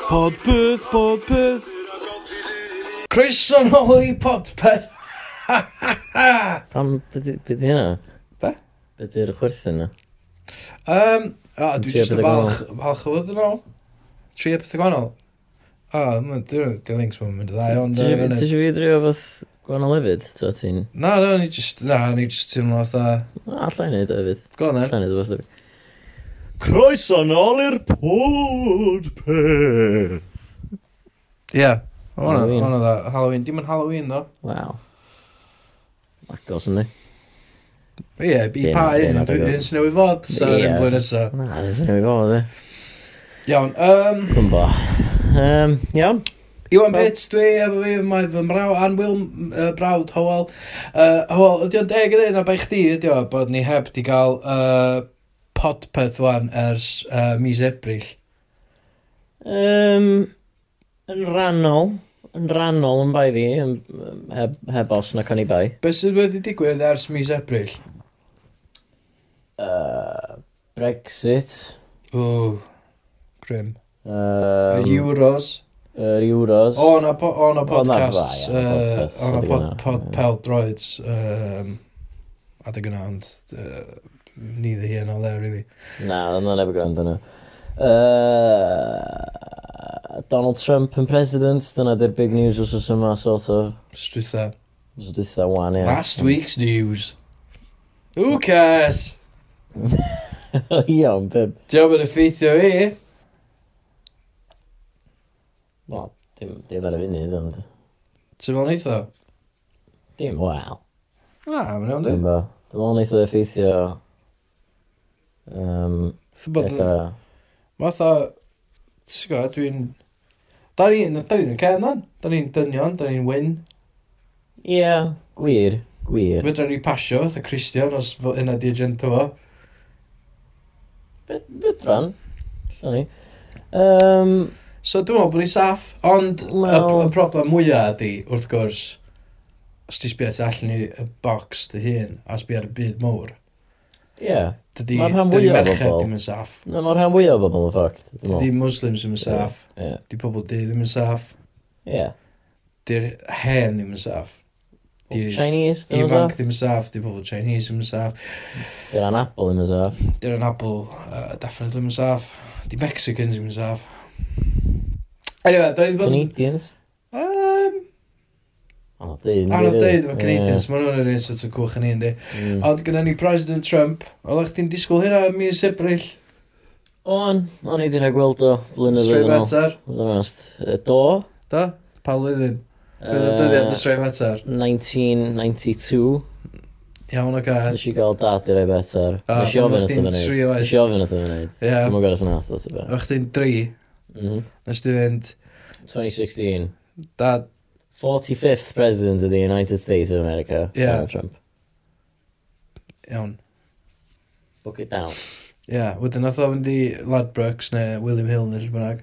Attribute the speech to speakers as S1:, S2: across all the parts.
S1: Podpeth, podpeth.
S2: Croeso nôl i podpeth.
S3: Pam, beth ydi hynna?
S2: Be?
S3: Beth ydi'r chwerthin yna?
S2: Um, a, dwi
S3: trio
S2: jyst yn
S3: pethau
S2: falch, falch o fod yn ôl. Tri y pethau gwahanol. A, ma- dwi'n dwi'n links ma'n mynd y ddau, ond...
S3: Ti
S2: yy,
S3: eisiau
S2: fyny.
S3: ti isio fi drio fath gwahanol hefyd? So ti'n...
S2: Na, na, ni jyst, na, ni jyst teimlo fatha...
S3: A, allai wneud o hefyd.
S2: Go on, then.
S3: Allai wneud o fath hefyd.
S1: Croeso nôl i'r podpeth.
S2: Ie. Hwna,
S3: Halloween.
S2: hwna dda. Halloween. Dim yn Halloween, ddo.
S3: Waw. Agos yn di.
S2: Ie, i
S3: Dim-
S2: pa
S3: dim
S2: un,
S3: ar y go.
S2: un sy'n newid fod, so
S3: Ie.
S2: yn blwyddyn nesa.
S3: Na, dwi'n ei fod e.
S2: Iawn, um,
S3: Dwi'n bo. Um, iawn.
S2: Iwan Pits, dwi efo fi, mae fy mraw, Ann Wil, uh, brawd, Howell. Uh, Howell, ydy o'n deg i ddyn, a bai chdi ydy o, bod ni heb di gael uh, podpeth wan ers uh, mis Ebrill.
S3: Um, yn rannol. Yn rannol yn bai fi. yn- yym, Heb, heb os na con i bai.
S2: Be sydd wedi digwydd ers mis Ebrill?
S3: Uh, Brexit.
S2: O, grim. Um,
S3: Um,
S2: Euros.
S3: Yr Euros.
S2: O, na, po, o, na
S3: O, na,
S2: podcasts,
S3: fa, ia,
S2: yy,
S3: podcasts,
S2: o, na
S3: adeg
S2: pod,
S3: yna,
S2: pod,
S3: ie.
S2: pel droids, um, adeg yna, ond uh, neither here nor there, really.
S3: Na, yna neb yn gwrando nhw. Uh, Donald Trump yn president, dyna di'r big news os oes yma, sort of.
S2: Stwytha.
S3: Os ydych dda wan, ie.
S2: Last week's news. Who cares?
S3: Iawn, bib.
S2: Diolch yn effeithio i.
S3: Wel, dim, dim ar y funud, ond...
S2: Ti'n fawr neitho?
S3: Dim, wel.
S2: Na, mae'n iawn di.
S3: Dim bo. Dim ond eitha effeithio... Um,
S2: Fatha,
S3: eitha...
S2: ti'n gwybod, dwi'n... Da ni'n da ni'n cael nan, da ni'n dynion, da ni'n wyn.
S3: Ie, gwir, gwir.
S2: Fydra ni pasio fatha Christian os fo- hynna di agenda fo.
S3: Bydran. Llan ni. Um,
S2: So dwi'n meddwl bod ni'n saff, ond y
S3: Wel-
S2: y problem mwyaf ydi, wrth gwrs, os ti sbio tu allan i y box dy hun, a sbio ar y byd mowr,
S3: ie. Yeah.
S2: dydi
S3: Ma'r rhan
S2: dydi
S3: fwyaf o
S2: merched
S3: bobl.
S2: ddim yn saff.
S3: Na, mae'r rhan fwyaf o bobl yn ffact. Dim
S2: Dydi
S3: ond.
S2: Muslims ddim yn saff,
S3: Ie.
S2: dydi pobl di ddim yn saff,
S3: Ie.
S2: dy'r hen ddim yn saff. Di'r-
S3: Chinese, dim ond.
S2: Ifanc ddim yn saff, di pobl Chinese ddim yn saff,
S3: Dy'r anabl yn y saff.
S2: di'r anabl uh, definitely ddim yn saff, di Mexicans ddim yn saff. Anyway, da ni wedi bod...
S3: Canadians. Oh,
S2: Um,
S3: Anodd dweud.
S2: Anodd dweud efo Canadians, maen nhw'n yr un sort o cwch yn un, di.
S3: Mm. Hmm.
S2: Ond gyda ni President Trump, oedd eich ti'n disgwyl hynna am mis Ebrill,
S3: O'n, o'n i wedi rhaid gweld o blynyddoedd
S2: straight
S3: yn ôl.
S2: better.
S3: Fod yn onest. Yy, Do.
S2: Da? Pa lwyddyn?
S3: yy,
S2: Bydd y dyddiad yn straight better.
S3: 1992.
S2: Iawn o gael.
S3: Nes i gael dad i'r ebet ar.
S2: A,
S3: Nes i
S2: pan
S3: ofyn
S2: o'ch
S3: wrth
S2: chdi'n
S3: yn
S2: tri oed.
S3: ei wneud. Nes i ofyn wrth yn ei wneud.
S2: Ie,
S3: Dwi'n gwybod yn ath o ti be.
S2: o'ch ti'n dri, Oh.
S3: Mhm.
S2: nes ti fynd,
S3: 2016.
S2: dad,
S3: 45th President of the United States of America.
S2: Ie.
S3: Donald Trump.
S2: iawn.
S3: Book it down.
S2: Ie, wedyn oedd o'n di Ladbrokes neu William Hill neu rhywbeth bynnag.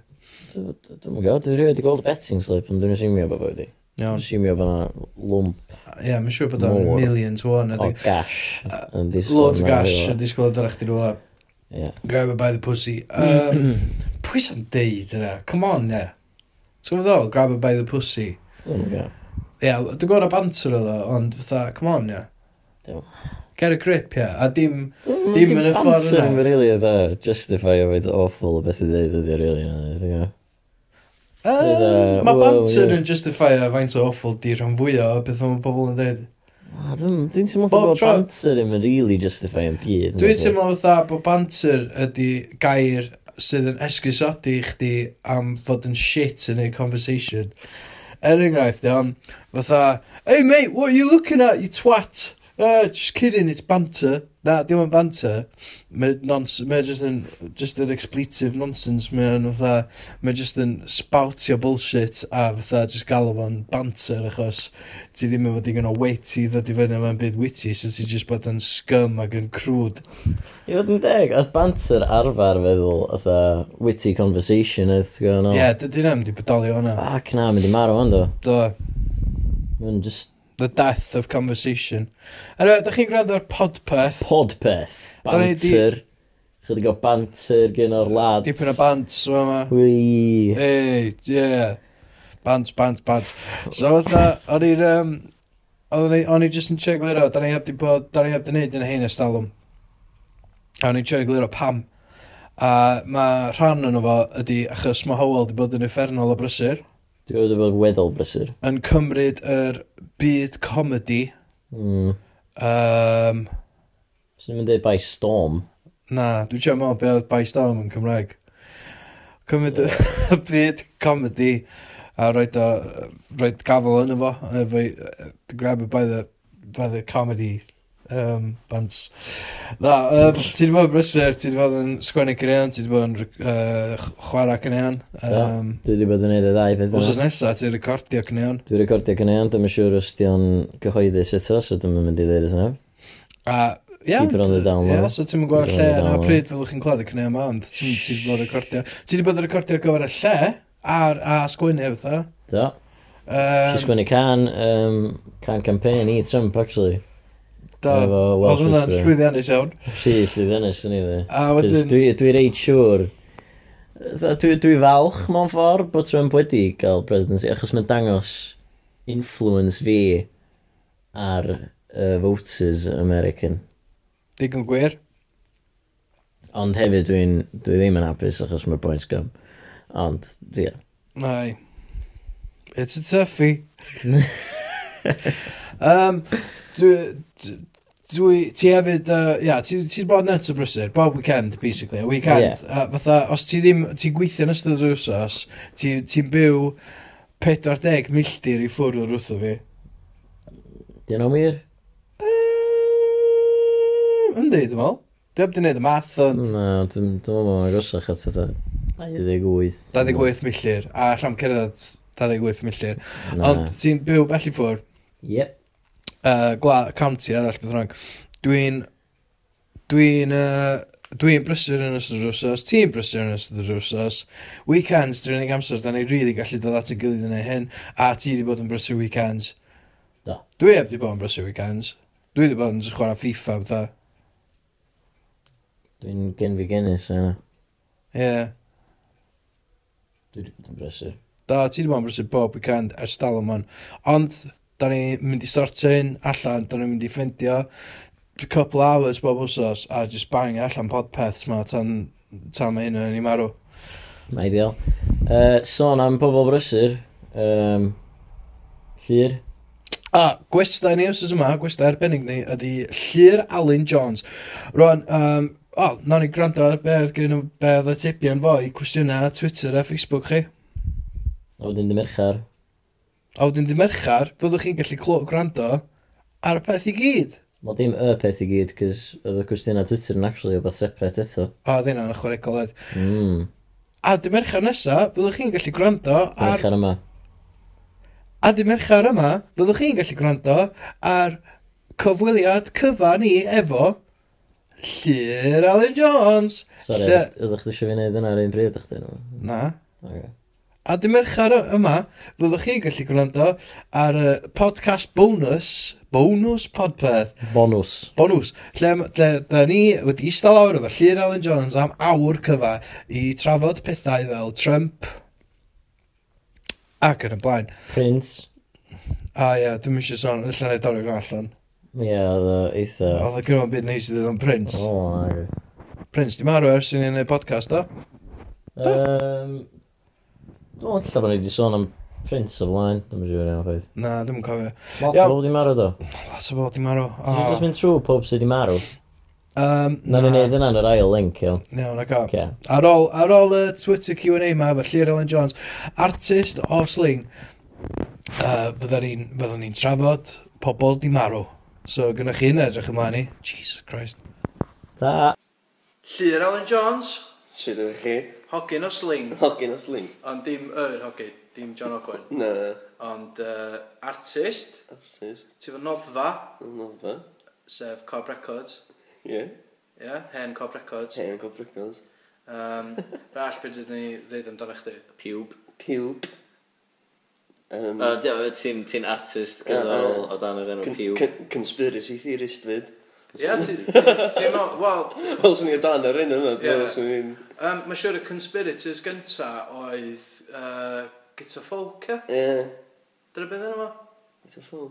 S3: Dwi'n gwybod, dwi'n rhywbeth i gweld y betting slip, ond dwi'n asumio bod bod i. Dwi'n
S2: Iawn.
S3: asumio bod yna lwmp
S2: Ie, mae'n siŵr bod o'n
S3: Mor.
S2: million to one.
S3: o
S2: ydy.
S3: gash. yn disgwyl
S2: Loads o
S3: mewn
S2: gash
S3: iddo fo.
S2: yn disgwyl o dyrach ti rhywle.
S3: Ie.
S2: Grab it by the pussy. Um, pwy sy'n deud yna? Come on, ne. Ti'n gwybod ddol? Grab it by the pussy.
S3: Dwi'm yn gwbod.
S2: Ie, dwi'n gwybod na banter oedd o, ond fatha, come on, ne.
S3: Iawn.
S2: Get a grip, ie. A dim, Dim yn y ffordd
S3: Dim
S2: yna.
S3: banter yn rili eitha justify o faint awful o beth i ddeud ydi rili yna.
S2: uh,
S3: Fydd, uh,
S2: mae
S3: wow,
S2: banter
S3: ie.
S2: yn justify o faint o awful di rhan fwyaf o beth mae pobl yn dweud.
S3: Dwi'n teimlo
S2: Bob
S3: fatha bod
S2: tro-
S3: banter ddim yn rili justify yn byd. e?
S2: Dwi'n teimlo fatha bod banter ydy gair sydd yn esgusodi i chdi am fod yn shit yn ei conversation. Er enghraifft, iawn, fatha, Hey mate, what are you looking at, you twat? Uh, just kidding, it's banter. Na, dim ond banter. Mae nons- mae just yn, just an expletive nonsense. Mae yn fatha, mae just yn spoutio bullshit a fatha just galw fo'n banter achos ti ddim yn fod i gyno weight i ddod i fyny mewn byd witty, so ti just bod yn scum ac yn crwd.
S3: I fod yn deg, oedd banter arfer feddwl oedd witty conversation oedd ti'n gwybod
S2: Ie, dydy na, di bodoli o'na.
S3: Ac na, mynd i marw ond o.
S2: Do,
S3: Mae'n just
S2: the death of conversation. Anyway, da chi'n gwrando ar podpeth.
S3: podpeth.
S2: Da ni di-
S3: Banter. Chydig o banter gen o'r lads.
S2: Dipyn o bant, so yma.
S3: Wi.
S2: Ei, ie. Bant, bant, bant. So fatha, o'n i'n... Um, o'n i- o'n i jyst yn check lero, da ni heb di bod, da ni heb di neud yn hein estalwm. A o'n i'n check lero pam. A mae rhan o'n fo ydy, achos mae Howell di bod yn effernol o brysur,
S3: Dwi wedi bod weddol brysur.
S2: yn cymryd yr byd comedy.
S3: Mm.
S2: Um,
S3: Swn i'n dweud by storm.
S2: na, dwi'n siarad mewn beth by storm yn Cymraeg. Cymryd y byd comedy a roed o, roed gafel yn efo, efo, i- to grab it by the, by the comedy um, bands. Na, um, ti wedi bod yn brysur, ti wedi bod yn sgwennu cynnion, ti wedi bod yn uh, chwarae cynnion. Um,
S3: Dwi wedi bod yn neud y ddau beth
S2: Os oes
S3: yna.
S2: nesaf, ti'n recordio cynnion.
S3: Dwi'n recordio cynnig, dwi'n siŵr os di o'n gyhoeddus eto, so dwi'n mynd i ddweud eto.
S2: A, ia,
S3: Keep it on the down low.
S2: ia, so ti'n mynd gweld
S3: Keep it
S2: lle
S3: on the
S2: yna,
S3: down low.
S2: pryd fel chi'n clod y cynnig yma, ond ti'n ti 'di bod yn recordio. Ti wedi bod yn recordio ar gyfer y lle, a, a sgwynnu fatha.
S3: Do. Dwi'n
S2: Um,
S3: sgwennu can, um, can campaign i Trump, actually.
S2: do,
S3: Efo
S2: oedd
S3: Welsh
S2: hwnna'n
S3: Whisperer.
S2: llwyddiannus iawn.
S3: Rhi, lli ddenis yn i dde.
S2: A
S3: Cos
S2: wedyn,
S3: Dwi dwi reid siŵr. Tha- Dwi, dwi falch mewn ffordd bod Trump wedi cael presidency, achos mae'n dangos influence fi ar uh, voters American.
S2: digon gwir.
S3: Ond hefyd dwi'n dwi ddim yn hapus achos mae'r points gym. Ond, ie.
S2: Nai. It's a toughie. um, dwi, d- dwi, ti hefyd, uh, ia, ti ti 'di bod net o brysur, bob weekend, basically, a weekend. Yeah. Uh, fatha, os ti ddim, ti'n gweithio yn ystod yr wsos, ti'n ti ti'n byw 40 milltir i ffwrdd o'r wrtho fi.
S3: Di yno wir?
S2: Um, yndi, dwi'n meddwl. Dwi heb di wneud y math, ond
S3: Na, dwi'n meddwl mae'n agosach at yta 28.
S2: 28 milltir, a llam cerdded 28 milltir.
S3: Na.
S2: Ond ti'n byw bell i ffwrdd,
S3: Yep.
S2: uh, gla, county arall beth rhaid. Dwi'n... Dwi'n... Uh, dwi'n brysur yn ystod yr wrsos. Ti'n brysur yn ystod yr wrsos. Weekends, dwi'n unig amser, da ni really gallu dod at y gilydd yn ei hyn. A ti wedi bod yn brysur weekends.
S3: Do.
S2: Dwi heb wedi bod yn brysur weekends. Dwi wedi bod yn chwarae FIFA, bydda.
S3: Dwi'n gen fi genis, yna.
S2: Ie. Yeah.
S3: Dwi wedi bod yn brysur.
S2: Da, ti wedi bod yn brysur bob weekend ers dal yma. Ond, da ni mynd i sortio hyn allan, da ni'n mynd i ffeindio couple hours bob wrsos a just bang allan podpeths ma tan, tan mae hyn yn ei marw.
S3: Ideal. Uh, son am pobl brysur. Um, llir.
S2: A, gwestai ni wrth yma, gwestai arbennig ni, ydy Llyr Alun Jones. Rwan, um, o, oh, nawn ni gwrando ar beth gyn nhw, beth y tipion fo i cwestiynau Twitter a Facebook chi.
S3: A wedyn dy merchar.
S2: A wedyn di merchar, fyddwch chi'n gallu clw gwrando ar y peth i gyd.
S3: Wel dim y peth i gyd, cys oedd y cwestiynau Twitter yn actually o beth separate eto.
S2: O, ddyn nhw'n ychwanegol oedd.
S3: Mm,
S2: A di merchar nesaf, fyddwch chi'n gallu gwrando ar...
S3: merchar yma.
S2: A di merchar yma, fyddwch chi'n gallu gwrando ar cyfweliad cyfan ni efo Llyr Alun Jones.
S3: Sorry,
S2: Lle-
S3: ydych chi eisiau fi wneud yna ar un bryd o'ch dyn nhw?
S2: Na.
S3: Okay.
S2: A dim merchar y- yma, fyddwch chi'n gallu gwrando ar y podcast bonus, bonus podpeth,
S3: Bonws.
S2: bonus, lle, m- lle da ni wedi eistedd lawr efo Llyr Alan Jones am awr cyfa i trafod pethau fel Trump ac yn y blaen.
S3: Prince.
S2: A ia, dwi'n mysio son, allan ei dorri gan allan.
S3: Ie, oedd o eitha...
S2: Oedd y gyrwyd byd neis i ddod am Prince.
S3: O, nage.
S2: Prince, di marw ers i ni'n gwneud podcast o? Do.
S3: Yym... Dwi'n lla bod ni wedi sôn am Prince o blaen, dwi'n siŵr iawn chwaith.
S2: Na, dwi'n cofio.
S3: Lot
S2: Iawn.
S3: o bobl wedi marw do.
S2: Lot o bobl di marw. O.
S3: Dwi'n just mynd trwy pob sydd wedi marw.
S2: Yym,
S3: Na ni'n neud
S2: Na,
S3: yna yn yr ail link, iawn.
S2: iawn, ac o.
S3: Oce.
S2: Ar ôl, ar ôl y Twitter Q&A ma, efo Llyr Ellen Jones, artist o sling, uh, byddwn ni'n byddwn ni'n trafod pobl di marw. So, gynnwch chi hynna edrych ymlaen i. Jesus Christ.
S3: Ta!
S2: Llyr Ellen Jones,
S4: Sydd yn chi?
S2: hogyn o sling,
S4: Hogyn o sling?
S2: ond dim yr hogyn, dim John Ogwen,
S4: Na,
S2: ond uh, artist,
S4: artist.
S2: ti fo noddfa,
S4: Nodfa.
S2: sef Cob Records,
S4: Ie.
S2: yeah, hen Cob Records.
S4: Hen go bricos.
S2: Um, Rall beth ydyn ni ddeud amdano chdi?
S5: Pube.
S4: Pube. Um,
S5: O, ti'n ti artist
S4: Ie,
S5: gyda'r
S4: ie.
S5: o dan yr enw
S4: con-
S5: Pube.
S4: con- conspiracy theorist fyd.
S5: Ie, ti... ti- ti'n meddwl- Wel,
S4: Fel swn i o dan ar un yna, dwi'n
S5: Ie.
S4: meddwl swn i'n...
S5: yym, mae'n siŵr y conspirators gynta oedd uh, Gita Falker.
S4: Ie,
S5: Dyna beth yna fo?
S4: it's a fool.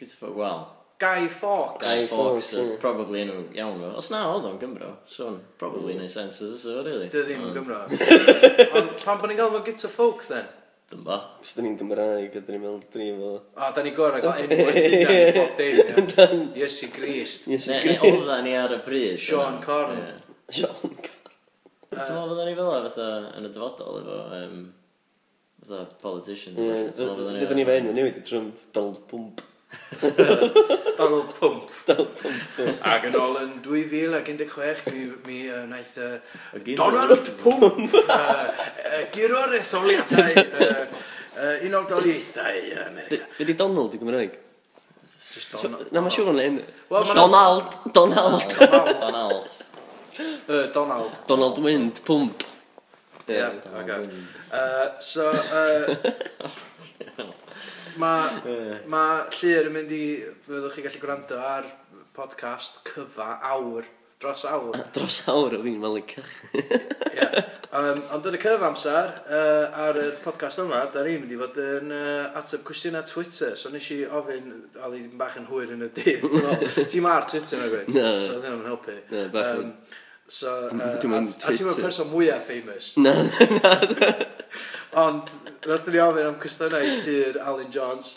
S6: Gyda ffo, wel,
S5: Guy Fawkes.
S4: Guy
S6: Guy Fawkes
S4: Fawkes,
S6: oedd
S4: ie.
S6: probably yn iawn o. Os na oedd o'n Gymro, so o'n probably yn ei sens os ydw, really.
S5: Dy ddim yn
S6: Ond,
S5: Gymro. Ond pan bod ni'n gael fo Gita Folk, then?
S6: Dyn ba.
S4: Os da ni'n Gymraeg, a da ni'n meddwl drin fel...
S5: O, da ni gorau gael enw yn bob dim, ie. Iesu Grist.
S4: Yes,
S6: Ne,
S4: it's
S6: ne,
S4: great.
S6: oedda ni ar y bryd.
S5: Sean
S6: Ie.
S5: Corn.
S4: Sean
S6: Ti'n meddwl fydda ni fel o fatha yn y dyfodol efo um, fatha politicians a
S4: Ie,
S6: ballu? Ti'n meddwl fyddan
S4: Fyddwn ni fe enw newid y Trump, Donald Pump.
S5: Donald Pump.
S4: Donald Pump. ie.
S5: Ac yn ôl yn 2016, mi, mi uh, naeth uh,
S6: Y giro.
S5: Donald Pump uh, uh, giro'r etholiadau uh, uh, unodoliaethau uh,
S4: D-
S5: America.
S4: Be di Donald i Gymraeg?
S5: Just
S4: So-
S5: Donald.
S4: Na, mae'n siŵr o'n enw.
S5: Wel, ma' 'na-
S4: Donald, Donald,
S5: Donald.
S6: Donald.
S5: Uh, Donald.
S4: Donald Wind, Pump. Ie.
S5: Yeah, okay. Uh, so, uh, mae ma llir yn mynd i, fyddwch chi gallu gwrando ar podcast cyfa awr, dros awr.
S4: Dros awr o fi'n fel y cach.
S5: Ie. um, ond yn y cyf amser, uh, ar y podcast yma, da ni'n mynd i fod yn uh, ateb cwestiynau Twitter. So nes i ofyn, oedd i ddim bach yn hwyr yn y dydd. Wel, Ti'n ar Twitter na gweud,
S4: Na.
S5: so ddim yn helpu.
S4: Na, bach yn-
S5: so, uh, a, a
S4: Dwi'm yn
S5: ti'n mynd
S4: Twitter.
S5: person mwyaf famous.
S4: Na,
S5: Ond, nath ni ofyn am cwestiynau i llir Alan Jones.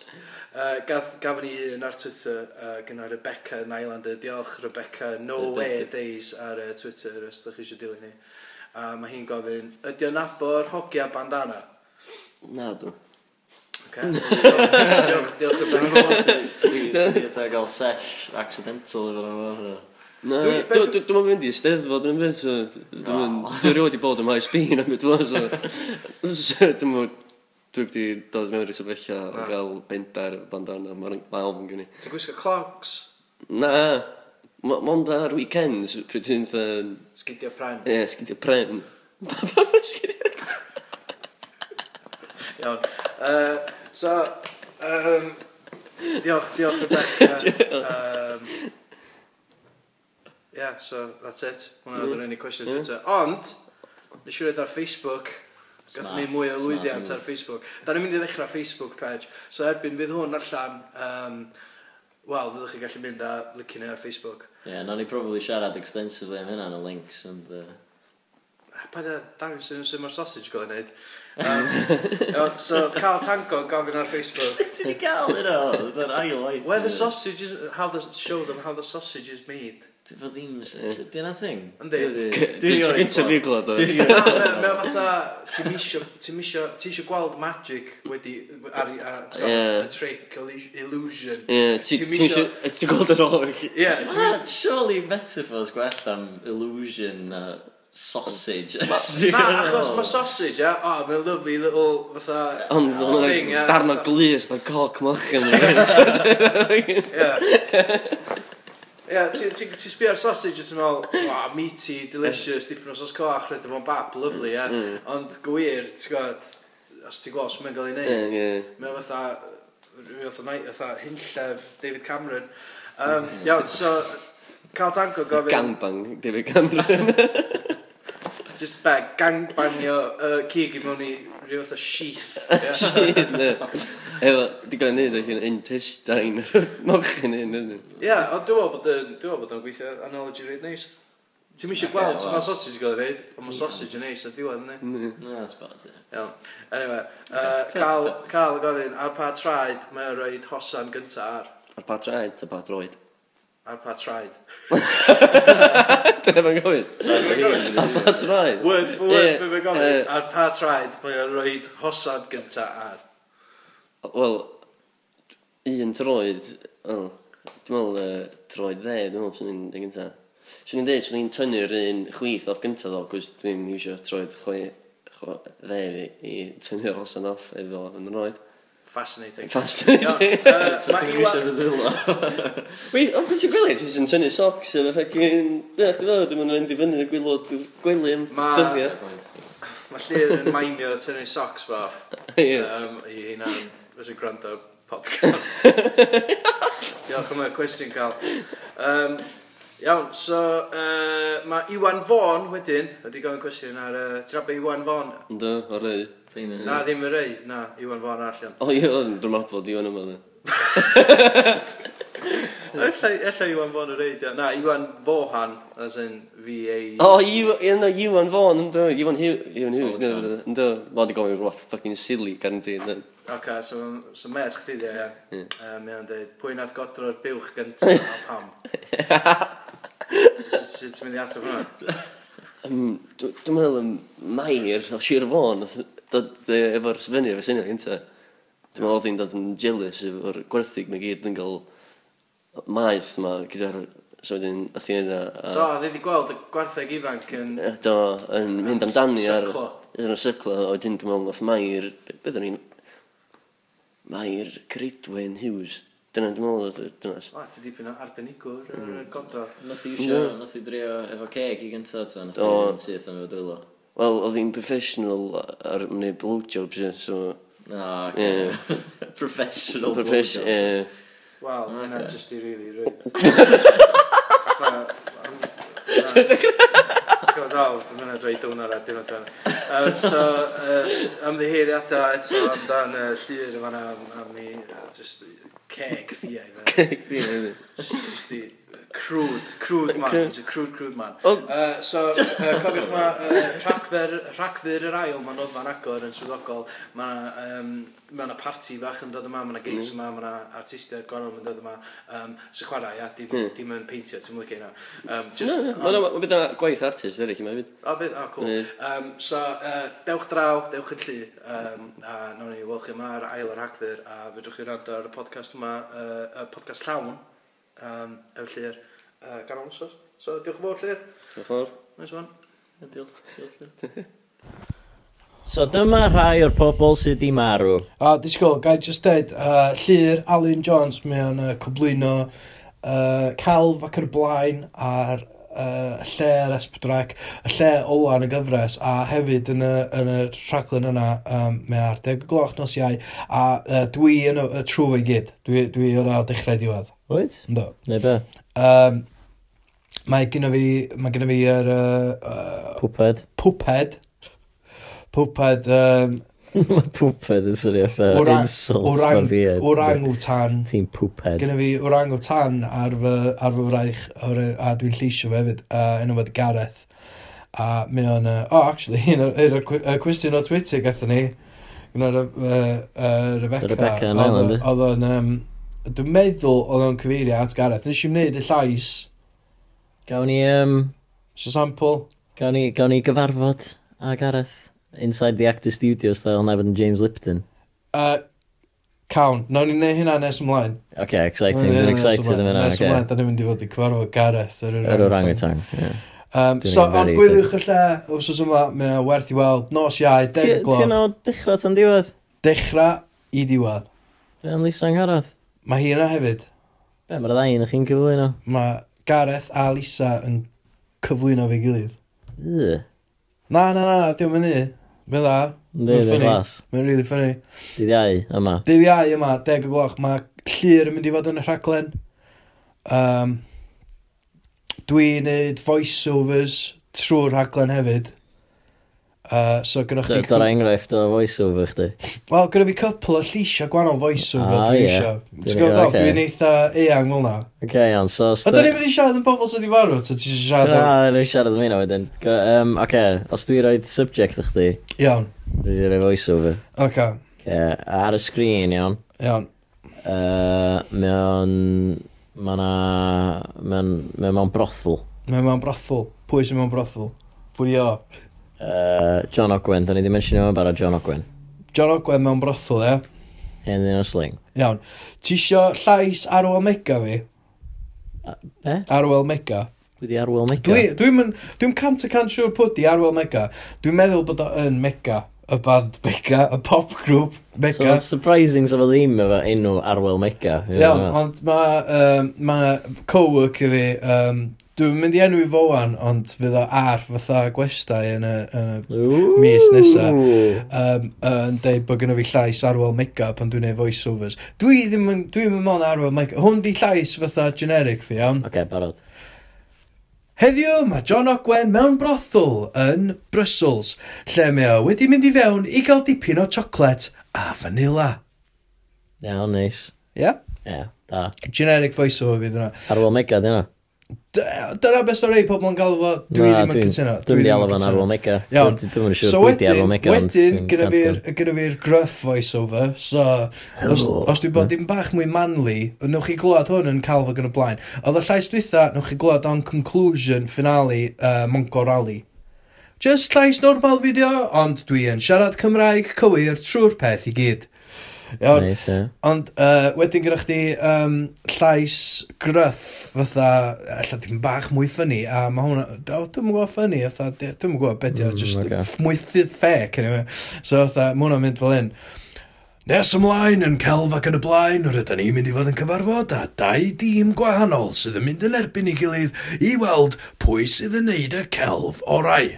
S5: Uh, gath, gafon ni un ar Twitter uh, gyda Rebecca yn Islander. Diolch Rebecca, no way days ar uh, Twitter os ydych chi eisiau dilyn ni. A mae hi'n gofyn, ydy o'n abor hogia bandana?
S4: na, dwi'n.
S5: Okay. diolch, diolch Rebecca.
S6: Ti'n gael sesh accidental efo nhw.
S4: Na,
S5: Dwi-
S4: dwi- dwi- dwi'n mynd i ysteddfod yn beth, so dwi'n mynd, dwi'n rhoi wedi bod yma i Sbyn am beth fo, so so dwi'n mynd, dwi wedi dod mewn i sefyllfa o gael bendar bandana, mae'n mawr yn gynnu.
S5: Ti'n gwisgo clogs?
S4: Na, ma- mond ar weekends, pryd dwi'n dweud,
S5: Sgidio pren.
S4: ie, sgidio pren.
S5: Iawn. Uh, so, um, diolch, diolch Rebecca. um, yeah, so that's it.
S6: Mm.
S5: Hwna oedd yr unig cwestiwn Twitter. Ond, nes i roed ar Facebook, gath ni
S6: Smart,
S5: mwy o
S6: smart
S5: lwyddiant
S6: move.
S5: ar Facebook. Da ni'n mynd i ddechrau Facebook page. So erbyn fydd hwn allan, um, wel, fyddwch chi gallu mynd a licio ni ar Facebook.
S6: Ie, no ni probably siarad extensively am hynna yn y links. Ond, uh,
S5: Pa da, dangos sy'n sy'n ma'r sausage gael ei wneud. Um, iawn, so, Carl Tango gofyn ar Facebook.
S6: Ti'n gael yna, oedd yr ail waith.
S5: Where the sausage is, how the show them how the sausage is made.
S6: Fy ddim... Dyna thing?
S5: Yndi.
S4: Dwi'n tro gyntaf fi glod o.
S5: Na, mae o Ah, fatha, ti'n isio, ti'n isio, ti isio gweld magic wedi, ar, ar, ar
S4: Ie.
S5: a trick, illu- illusion.
S4: Ie, ti-
S5: Ti'n
S4: ti'n
S5: isio-
S4: isio- ti'n gweld yr o'r?
S5: Ie, ti'n
S6: Ah, surely metaphors gwell am illusion a sausage.
S5: Na, achos mae sausage, ia, o, mae'n lovely little, fatha,
S4: Ond
S5: thing, ie,
S4: hwnna darn o
S5: fatha-
S4: glis, na coc mochyn. Ie,
S5: Ie. Ie, ti- ti- ti'n sbio ar sausage a ti'n meddwl, wow, meaty, delicious, dipyn o sos coch, rydw fo'n bap, lovely, ie. Ond gwir, ti'n gwybod, os ti'n gweld, mae'n gael ei wneud.
S4: ie.
S5: Mae o fatha, rhyw fatha, nai- fatha hinllef David Cameron. Um,
S4: Mhm.
S5: iawn, so, Carl Tango gofyn...
S4: Gangbang, David Cameron.
S5: Just bag, gangbangio uh, cig i mewn i rhyw fatha sheath. ie.
S4: Ne. Efo, di gael neud o'ch yn intestine mochyn hyn. ydyn.
S5: Ie, ond dwi'n meddwl bod yn- dwi'n meddwl bod o'n gweithio analogy reit neis. Ti'n misio gweld sut mae sausage gael ei wneud, ond mae sausage yn neis a diwedd yn
S4: Mm.
S5: ei.
S6: Na, sbos, ie.
S5: Iawn. Anyway, uh, Carl, Carl yn gofyn, ar pa traed mae o roed hosan gynta ar?
S4: Ar pa traed, ta pa droed.
S5: Ar pa traed?
S4: Dyna fe'n gofyn. Ar pa traed.
S5: Word for word,
S4: Ie,
S5: yeah, mae'n gofyn.
S4: yy,
S5: Ar pa traed mae o roed hosan gynta ar?
S4: Wel, un troed, o, dwi'n meddwl yy, troed dde, dwi'n meddwl sy'n un gynta. Swn i'n dweud, swn i'n tynnu'r un chwith off gyntaf o, gwrs dwi'n iwsio troed chwe, chwe dde fi i tynnu'r osan off efo yn roed.
S5: Fascinating.
S4: Fast.
S5: Iawn,
S4: Wait,
S5: yy, ma'
S6: Ti'n
S5: Iwan-
S6: gwisio dy ddwylo?
S4: ond beth sy'n gwylio? Ti'n tynnu socks efo ffecin... Ie, chdi fel, dwi'n mynd i fynd i fyny yn y gwylod gwyli am
S5: Ma-
S4: dyddiau.
S5: Mae Llyr yn maimio tynnu socks fo off
S4: Ie.
S5: um, i hunan fes y gwrando podcast. Diolch am y cwestiwn, Carl. Um, Iawn, so uh, mae Iwan Fawn wedyn, wedi gofyn cwestiwn ar uh, trabe Iwan Fawn.
S4: Ynddo, o rei.
S3: Mm.
S6: Famous.
S5: Na, ddim y rei, na, Iwan Fawn allan.
S4: O, ie, oedd yn drwmabod i o'n yma, dde.
S5: Ella, ella Iwan Fawn y rei, dio. na, Iwan Fohan, as in V-A...
S4: O, Iw- ie, na, Iwan Fawn, ynddo, Iwan Hugh- Iwan Hughes, ynddo, ynddo. Mae wedi gofyn rhywbeth ffucking silly, guaranteed, ynddo.
S5: Ok, so, so met chdi dio, ia. Yym, Mae o'n dweud, pwy nath godro'r buwch gyntaf a pam? S- Sut ti'n mynd i ateb hwnna?
S4: Yym, dw- Dwi'n meddwl yn Mair o Sir Fôn nath dod yy, efo'r sefynu efo'r syniad gynta. Dwi'n meddwl oedd hi'n dod yn jealous efo'r gwerthig mae gyd yn cael maeth ma gyda'r... So wedyn, oedd hi yna... a-
S5: So, oedd wedi gweld y gwartheg ifanc yn...
S4: Yy, Do, yn mynd amdani ar...
S5: Syrclo.
S4: Yn y syrclo, a wedyn dwi'n meddwl oedd Mair... Byddwn ni'n... Mair Cridwen Hughes. Dyna dwi'n meddwl oedd y dynas.
S5: O, ti dipyn o arbenigwr yr yy, godrodd.
S6: Nath i isio, nath i drio efo ceg i gynta ta, nath i
S4: Do.
S6: fynd syth am efo dwylo.
S4: Wel, oedd hi'n professional ar wneud blowjobs, ie, so...
S6: Na,
S4: Ie.
S6: professional.
S4: Profes-
S6: blowjob.
S4: ie.
S5: Wel, mae hynna
S6: Ocê.
S5: jyst i rili rwyt. Ti'n gwybod dal, dwi'n mynd rhaid dwnar ar diwrnod dan. Um, so, uh, ymddiheiriadau eto amdan uh, llir yma na, am, am i, uh, just ceg ffiau. Ceg ffiau. Just i, crwd, crwd man,
S4: Crwd.
S5: he's a crwd, crwd man.
S4: O.
S5: Uh, so, uh, cofiwch ma, uh, rhagfyr, rhagfyr yr ail, mae'n nodfa'n agor yn swyddogol, mae'n um, ma 'na parti fach yn dod yma, mae'n gigs yma, mae'n artistiaid gwahanol yn dod yma, um, sy'n chwarae, ia, dim,
S4: Mm.
S5: dim yn peintio, ti'n mwyn hynna. Um, just,
S4: Mae'n bydd yna gwaith artist eraill yma fyd.
S5: O, bydd, o, cool.
S4: Ie.
S5: Um, so, uh, dewch draw, dewch yn llu, um, a nawn ni weld chi yma ar ail yr hagfyr, a fedrwch chi rand ar y podcast yma, uh, y podcast llawn, um, efo'r llir, uh, gan o'n wsos. So, diolch yn fawr llir.
S4: Diolch yn fawr.
S5: Nice one.
S6: Diolch, diolch.
S3: So dyma rhai o'r pobol sydd di marw.
S2: A disgwyl, gai just dweud, uh, Llyr Alan Jones mewn uh, cyflwyno uh, celf ac yr blaen ar uh, lle ar Esbydrec, y lle ola yn y gyfres, a hefyd yn y, yn y rhaglen yna, um, mae ar deg o gloch nos iau, a uh, dwi yn y, y trwy i gyd, dwi, dwi yn o dechrau diwedd.
S3: Wyt?
S2: Ynddo.
S3: Neu be?
S2: Um, mae gynna fi, mae gynna fi yr uh, uh,
S3: Pwped.
S2: pwped, pwped um,
S3: Mae pwped yn swnio fatha
S2: Orang-
S3: insult
S2: orang,
S3: ma'n fi.
S2: orangutan
S3: Ti'n pwped.
S2: Gynna fi orangutan ar fy, ar fy wraich o'r, a dwi'n lleisio fe hefyd, a enw fod Gareth. A mae o'n... Uh, oh, actually, un o'r- un o'r cwe- y cwestiwn o Twitter gatho ni, gyda'r Rebecca.
S3: Rebecca yn
S2: oedd-
S3: Ireland, eh?
S2: Oedd o'n... Um, dwi'n meddwl oedd o'n cyfeirio at Gareth. Nes i'n wneud y llais,
S3: Gawn ni, um,
S2: so sample.
S3: gawn ni, gawn ni gyfarfod a Gareth. Inside the Actor Studios, dda, ond efo James Lipton.
S2: Uh, cawn, nawn ni'n neud hynna nes ymlaen.
S3: Ok, exciting. Dwi'n excited am hynna.
S2: Nes ymlaen,
S3: ok.
S2: da ni'n mynd i fod i cyfarfod Gareth. Yr
S3: Yr
S2: orangutan.
S3: orangutan. ie.
S2: Um,
S3: Dwi'n
S2: so,
S3: very
S2: ond gwyliwch y lle, os oes yma, mae o werth i weld, nos iau,
S3: Ti-
S2: deg
S3: Ti'n
S2: gloch,
S3: o dechrau tan diwedd?
S2: dechrau i diwedd.
S3: Fe am Lisa Angharad?
S2: Mae hi yna hefyd,
S3: Be, mae'r ddau yn chi'n cyflwyno?
S2: mae Gareth a Lisa yn cyflwyno fe gilydd.
S3: Yy.
S2: Na, na, na, na diolch yn ni. Mae'n dda,
S3: Yndi,
S2: Mae'n
S3: dwi'n
S2: funny.
S3: glas.
S2: mae'n really funny.
S3: Dydd iau, yma.
S2: Dydd iau yma, deg o gloch, mae llir yn mynd i fod yn y rhaglen. Um, Dwi'n neud voiceovers trwy'r rhaglen hefyd. Uh, so, gynnwch
S3: D-
S2: chi...
S3: Do'r enghraifft o voiceover chdi.
S2: Wel, gyda fi couple o lleisio gwahanol voiceover
S3: Ah,
S2: oh, dwi
S3: ie.
S2: eisiau.
S3: Dwi'n
S2: Ti'n gwybod
S3: gwybod,
S2: ddol,
S3: ocê.
S2: dwi'n eitha eang fel na.
S3: Ok, iawn, so...
S2: A da ni'n mynd i siarad yn bobl sydd wedi farw, ta ti eisiau siarad
S3: Na,
S2: am...
S3: rwy'n siarad am hynna wedyn. Go- yym, Oce, os dwi roed subject i chdi,
S2: Iawn,
S3: rwy'n rhoi voiceover.
S2: oce,
S3: Oce, ar y sgrin, iawn,
S2: iawn.
S3: yy, mae o'n... Mae na... Mae o'n... Mae o'n brothel.
S2: Mae mewn brothol. Pwy sy'n mewn brothol? Pwy o?
S3: Yy, John Ogwen, da ni di mention o'n barod John Ogwen.
S2: John Ogwen mewn brothol, ie?
S3: Hen ddyn o sling.
S2: Iawn. Ti eisiau llais Arwel Mega fi?
S3: Be?
S2: Arwel Mega?
S3: Dwi di arwyl mega.
S2: Dwi'n dwi mynd... Dwi'n cant y cant siwr pwyd i Arwel Mega. Dwi'n meddwl bod o yn Mega. Y band Mega, y pop grŵp
S3: So
S2: Mega.
S3: mae'n surprising sef o ddim efo enw arwel mega.
S2: Iawn, ond mae um, ma co-worker fi, um, dwi'n mynd i enw i fowan, ond fydd o ar fatha gwestai yn y, yn y mis nesa. Um, yn deud bod gynnu fi llais arwel mega pan dwi'n neud voiceovers. Dwi ddim yn, dwi ddim yn mon arwel mega. Hwn di llais fatha generic fi, iawn.
S3: Ok, barod.
S2: Heddiw mae John Ogwen mewn brothol yn Brussels, lle mae o wedi mynd i fewn i gael dipyn o siocled a fanila.
S3: Iawn, neis.
S2: Ia? Yeah?
S3: Ie, da.
S2: Generic voice over fydd yna.
S3: Arwol mega, di hwnna.
S2: D- Dyna beth sy'n rei pobl yn galw fo, dwi
S3: Na,
S2: ddim yn
S3: dwi'n-
S2: cytuno.
S3: Dwi'n di alw fan arwol mega.
S2: Iawn.
S3: Dwi- Dwi'n yn siŵr
S2: So
S3: pwy di
S2: wedyn,
S3: arwol mega. ond
S2: wedyn,
S3: dwi'n
S2: gyda
S3: can't
S2: fi'r-
S3: gweld.
S2: gyda fi'r gruff voiceover, so os,
S3: Hello.
S2: os dwi'n bod dim bach mwy manly, newch chi glwad hwn yn calfo gan y blaen. Oedd y llais dwytha, newch chi glwad o'n conclusion finale uh, Mongo Rally. Just llais normal fideo, ond dwi yn siarad Cymraeg cywir trwy'r peth i gyd. Iawn,
S3: Neis, ie.
S2: Ond uh, wedyn gyda chdi um, llais gryff fatha, alla dim bach mwy ffynnu, a mae hwnna, o, dwi'n mwyn gwybod ffynnu, fatha, di- dwi'n mwyn gwybod beth yw,
S3: Mm,
S2: just
S3: ocê.
S2: f- mwy ffydd ffec, anyway. So fatha, mae hwnna'n mynd fel hyn. Nes ymlaen yn celf ac yn y blaen, rydyn ni'n mynd i fod yn cyfarfod â dau dîm gwahanol sydd yn mynd yn erbyn ei gilydd i weld pwy sydd yn neud y celf orau.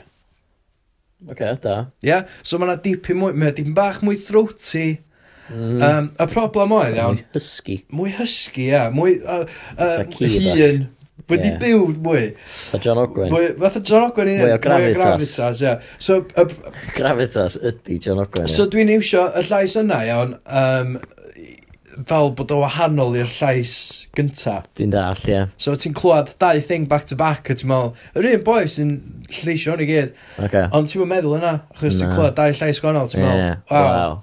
S3: Oce, da.
S2: Ia, yeah? so mae yna dipyn mwy, mae dim bach mwy throaty. Mm. Um, y problem oedd iawn,
S3: Husky.
S2: mwy hysgu, ia. Mwy uh, uh,
S3: Fatha ci bach.
S2: hun. Wedi
S3: Ie.
S2: yeah. byw mwy.
S3: Ta John Ogwen.
S2: mwy fatha John Ogwen i
S3: Mwy o gravitas.
S2: ia. So, y,
S3: Gravitas ydy John Ogwen.
S2: so
S3: ie.
S2: dwi'n iwsio y llais yna, iawn, um, fel bod o wahanol i'r llais gynta.
S3: Dwi'n dall, ie.
S2: So ti'n clywed dau thing back to back a ti'n meddwl, yr un boi sy'n lleisio hwn i gyd.
S3: Oce.
S2: Ond ti'n meddwl yna, achos ti'n
S3: Na.
S2: clywed dau llais gwahanol, ti'n meddwl,
S3: Ie,
S2: wow,
S3: waw.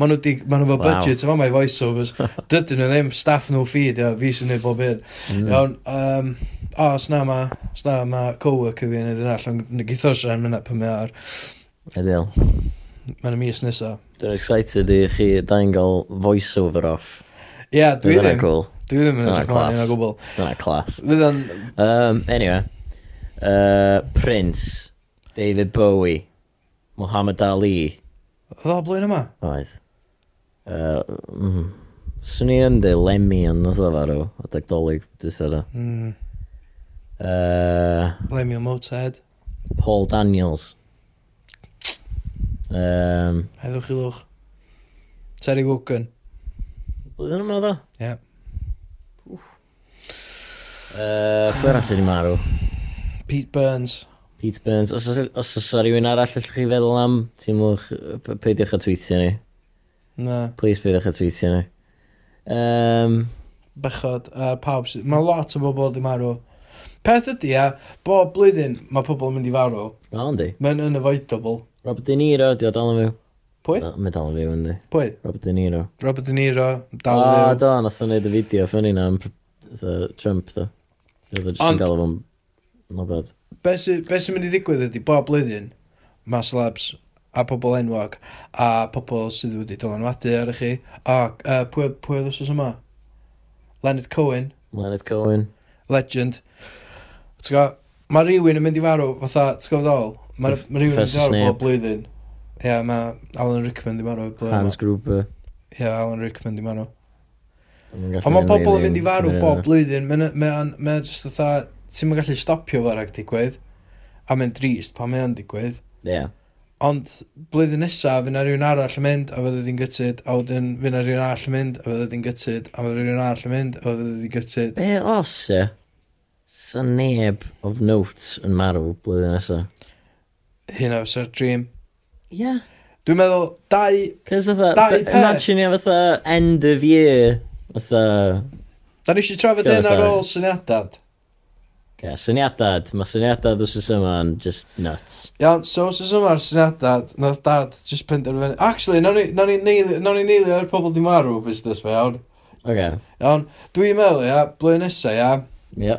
S2: Ma nhw, di, ma nhw fo
S3: Waw.
S2: budget yma mae voiceovers. Dydyn nhw ddim staff nhw feed, ia, fi sy'n neud bob un.
S3: Mm.
S2: Iawn, um, o, oh, sna ma, sna ma co-worker fi yn edrych allan, gytho sy'n rhan mynd pan mae ar,
S3: Ideal.
S2: mae'n y mis nesa.
S3: Dwi'n excited i chi dau'n gael voice-over off.
S2: Ia, yeah, dwi
S3: Fydd hwnna'n
S2: ddim,
S3: cool.
S2: dwi ddim yn
S3: Dyna
S2: edrych mlaen
S3: class.
S2: i'n o gwbl.
S3: Dyna class.
S2: Fydd yn,
S3: Um, anyway. Uh, Prince. David Bowie. Muhammad Ali.
S2: oedd o blwyddyn yma?
S3: Oedd. Uh, mm, Swn i yn de Lemmy yn oedd o farw, o dagdolig, dyth o da.
S2: Mm,
S3: Uh,
S2: blame your motorhead,
S3: Paul Daniels. Um,
S2: heddwch i lwch. Terry Wogan,
S3: Blwyddyn yma dda?
S2: Ie.
S3: Uh, Pwyr asyn i marw?
S2: Pete Burns.
S3: Pete Burns. Os oes- os oes o rhywun arall allwch chi feddwl am, ti'n mwch, peidiwch a tweetio ni.
S2: Na,
S3: Please peidiwch a tweetio ni. Um,
S2: bechod, a pawb sydd, mae lot o bobl wedi marw. Peth ydy, ia, bob blwyddyn mae pobl yn mynd i farw,
S3: o, yndi.
S2: mae'n unavoidable.
S3: Robert De Niro, di o dal yn fyw.
S2: Pwy?
S3: Na, Mae dal yn fyw, yndi.
S2: Pwy?
S3: Robert De Niro.
S2: Robert De Niro, dal
S3: O,
S2: yn fyw.
S3: do, nath o'n neud y fideo ffynnu na am pr- fatha Trump, do. Oedd o jyst yn
S2: Ond-
S3: gael o'n... No bad.
S2: Be sy- be sy'n mynd i ddigwydd ydy, bob blwyddyn, mae slabs a pobl enwog a pobl sydd wedi dylanwadu ar chi. A uh, pwy, pwy oedd os yma? Leonard Cohen,
S3: Leonard Cohen.
S2: legend. T'w go, mae rhywun yn mynd i farw, fatha, t'w go ddol? Mae
S3: Prof-
S2: ma rhywun yn mynd i
S3: Professor
S2: farw
S3: Snape.
S2: bob blwyddyn. Ie, yeah, mae Alan Rickman di marw. blwyddyn yma.
S3: Hans Gruber.
S2: Ie, yeah, Alan Rickman di marw. Ond mae pobl yn mynd i farw bob blwyddyn, mae'n ma just fatha, ti'n ma'n gallu stopio fo rhaid digwydd, a mae'n drist pan mae'n digwydd.
S3: Ie.
S2: Ond blwyddyn nesaf, fyna rhywun arall yn mynd, a fydd ydy'n gytid, a wedyn fyna rhywun arall yn mynd, a fydd ydy'n gytid, a fydd rhywun arall yn mynd, a fydd ydy'n gytid.
S3: Be os e? Sa neb of note yn marw blwyddyn nesaf.
S2: Hynna fysa'r dream.
S3: Ie.
S2: Dwi'n meddwl, dau,
S3: Cos fatha,
S2: Dau
S3: b-
S2: peth.
S3: imagine ie fatha end of year. Fatha,
S2: da ni eisiau trafod
S3: Sure,
S2: hyn ar
S3: fine.
S2: ôl syniadad.
S3: Ie, syniadad. Mae syniadad os oes yma yn just nuts.
S2: Iawn, so os oes yma'r syniadad, nath dad just penderfynu. Actually, nawn ni- nawn ni neilio- nawn ni neilio ar pobl di marw busnes fe, iawn.
S3: Oce.
S2: Iawn, dwi'n meddwl, ia, blwyddyn nesaf, ia,
S3: Ie.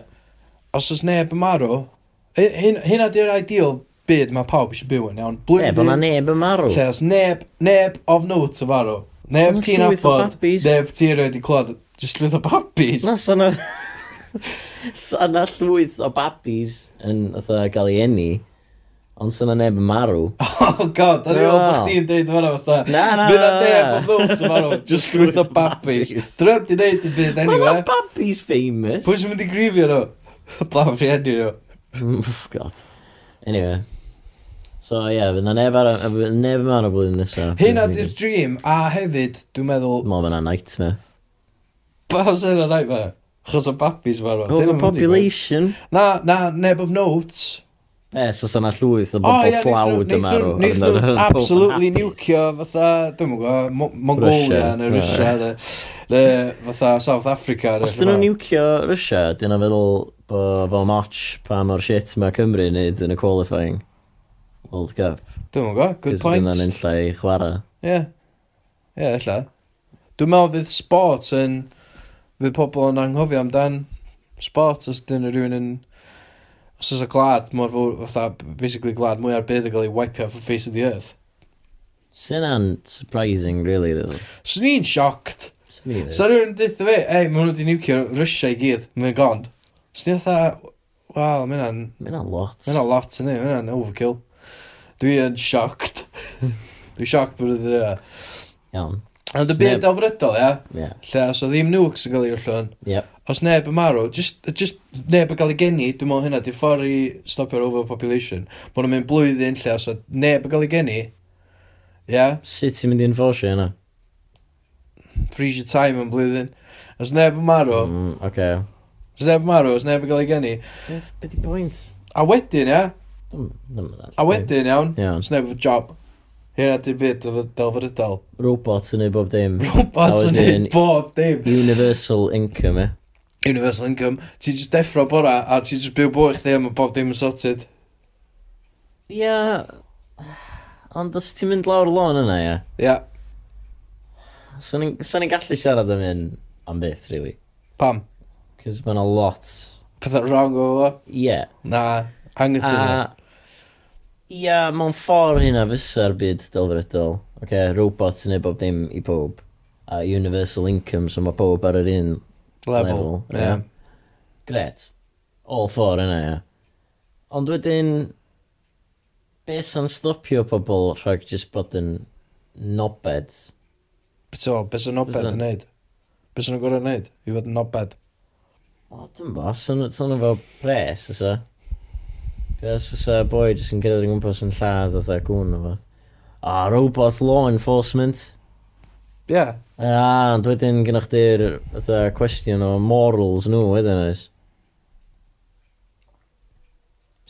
S2: os oes neb yn marw, hy- hyn- hynna di'r ideal byd mae pawb eisiau byw yn, iawn.
S3: Ie, bod na neb yn marw.
S2: Lle os neb, neb of note yn marw. Neb
S3: Ond
S2: ti'n
S3: llwyth o
S2: abod,
S3: babis.
S2: neb ti'n rhaid i clod, just llwyth o babis.
S3: Na, sana... sana llwyth o babis yn fatha gael ei eni, ond sana neb yn marw.
S2: Oh god, o'n i'n meddwl bod
S3: Wel.
S2: chdi'n deud fan'na fatha.
S3: Na, na,
S2: Fydd na
S3: na,
S2: neb
S3: na.
S2: of note yn marw, just llwyth o babis. Dref di neud i byd
S3: Mae na
S2: anyway.
S3: babis famous!
S2: Pwy sy'n mynd i grifio nhw? Blaen rhieni nhw.
S3: Pwys... God. Anyway. So, ie, yeah, fydd na neb ar... fydd neb yn marw blwyddyn nesaf.
S2: Hynna di'r dream, a hefyd, dwi'n meddwl,
S3: Mo, mae'n nightmare.
S2: pa sy'n yna nightmare? Chos o babis farw.
S3: Overpopulation.
S2: Na, na, neb of notes.
S3: Yes, os yna llwyth o
S2: O,
S3: bobl
S2: ie,
S3: tlawd yn marw.
S2: neith
S3: a wedyn
S2: nhw
S3: oedd pobl
S2: absolutely
S3: yn hapus.
S2: niwcio fatha, dwi'n gwybod, Mo- Mongolia
S3: Russia,
S2: neu
S3: ie.
S2: Russia neu- neu fatha South Africa. neu
S3: Os dyn nhw'n
S2: rhywbeth.
S3: niwcio Russia, dyn nhw'n feddwl bo- bo moch pa mor shit mae Cymru'n neud yn y qualifying World Cup.
S2: Dwi'n gwybod, good
S3: Cos bydden
S2: point.
S3: nhw'n enllai chwarae.
S2: Ie. Ie, illa. Dwi'n meddwl fydd sport yn... Fydd pobl yn anghofio amdan sport os dyn nhw rhywun yn... Os oes y glad mor fawr, fatha, basically glad mwy ar byd yn cael ei wipe off the face of the earth.
S3: Sy'n an surprising, really, though.
S2: So ni'n sioct.
S3: Sy'n ni,
S2: So rhywun yn dweud fi, ei, maen nhw wedi niwcio Russia i gyd, mae'n gond. So ni'n fatha, wel, mae'n an...
S3: Mae'n a lot.
S2: Mae'n a lot yn ei, mae'n an overkill. Dwi yn sioct. Dwi'n sioct bod ydyn nhw.
S3: Iawn,
S2: e. Ond y
S3: Sneb.
S2: byd delfrydol, ia,
S3: ie.
S2: lle os oedd ddim nukes yn cael ei ollwn,
S3: Yep.
S2: os neb yn marw, just, just neb yn cael ei geni, dwi'n meddwl hynna, di ffordd i stopio'r overpopulation. Mae nhw'n mynd blwyddyn lle, os oedd neb yn cael ei geni, ia, yeah,
S3: Sut ti'n mynd i'n fforsio yna?
S2: freeze your time yn blwyddyn. Os neb yn marw, mm.
S3: Mm, Oce.
S2: os neb yn marw, os neb yn cael ei geni.
S3: Beth di pwynt?
S2: A wedyn, ia, yeah, a wedyn iawn,
S3: Iawn,
S2: os neb yn job. Hynna di'r byd o delfrydol.
S3: robots yn neud bob dim.
S2: Robots
S3: A
S2: yn
S3: wedyn-
S2: neud bob dim.
S3: Universal income, e.
S2: Universal income, ti'n just deffro bora a ti'n just byw bwch chdi am y bob dim yn sorted.
S3: Ia... Ond os ti'n mynd lawr y lôn yna, ia.
S2: Ia, yeah.
S3: Sa'n ni'n gallu siarad am hyn am beth, really.
S2: pam?
S3: Cos mae'n a lot.
S2: Pethau wrong o fo.
S3: Ie.
S2: Na, angytuno. A...
S3: A... Ia, mewn ffordd hynna fysa'r byd delfrydol. Oce, okay, robots yn neud bob dim i pob. A universal income, so mae pob ar yr un
S2: Level.
S3: level,
S2: Ie.
S3: ie. Gret. All four yna, ia. Ond wedyn, be sy'n stopio pobl rhag just bod yn nobed?
S2: Beto, beth sy'n nobed
S3: Fysa.
S2: yn neud? Beth sy'n gorau neud? I fod yn nobed.
S3: O, dyn bo, sy'n efo pres, ysa. Cos ysa boi jyst yn cerdded yn gwmpas yn lladd oedd a gwn o fo. A robot law enforcement.
S2: Ie. Yeah.
S3: A, ond wedyn gynnwch chi'r fatha cwestiwn o morals nhw, wedyn oes.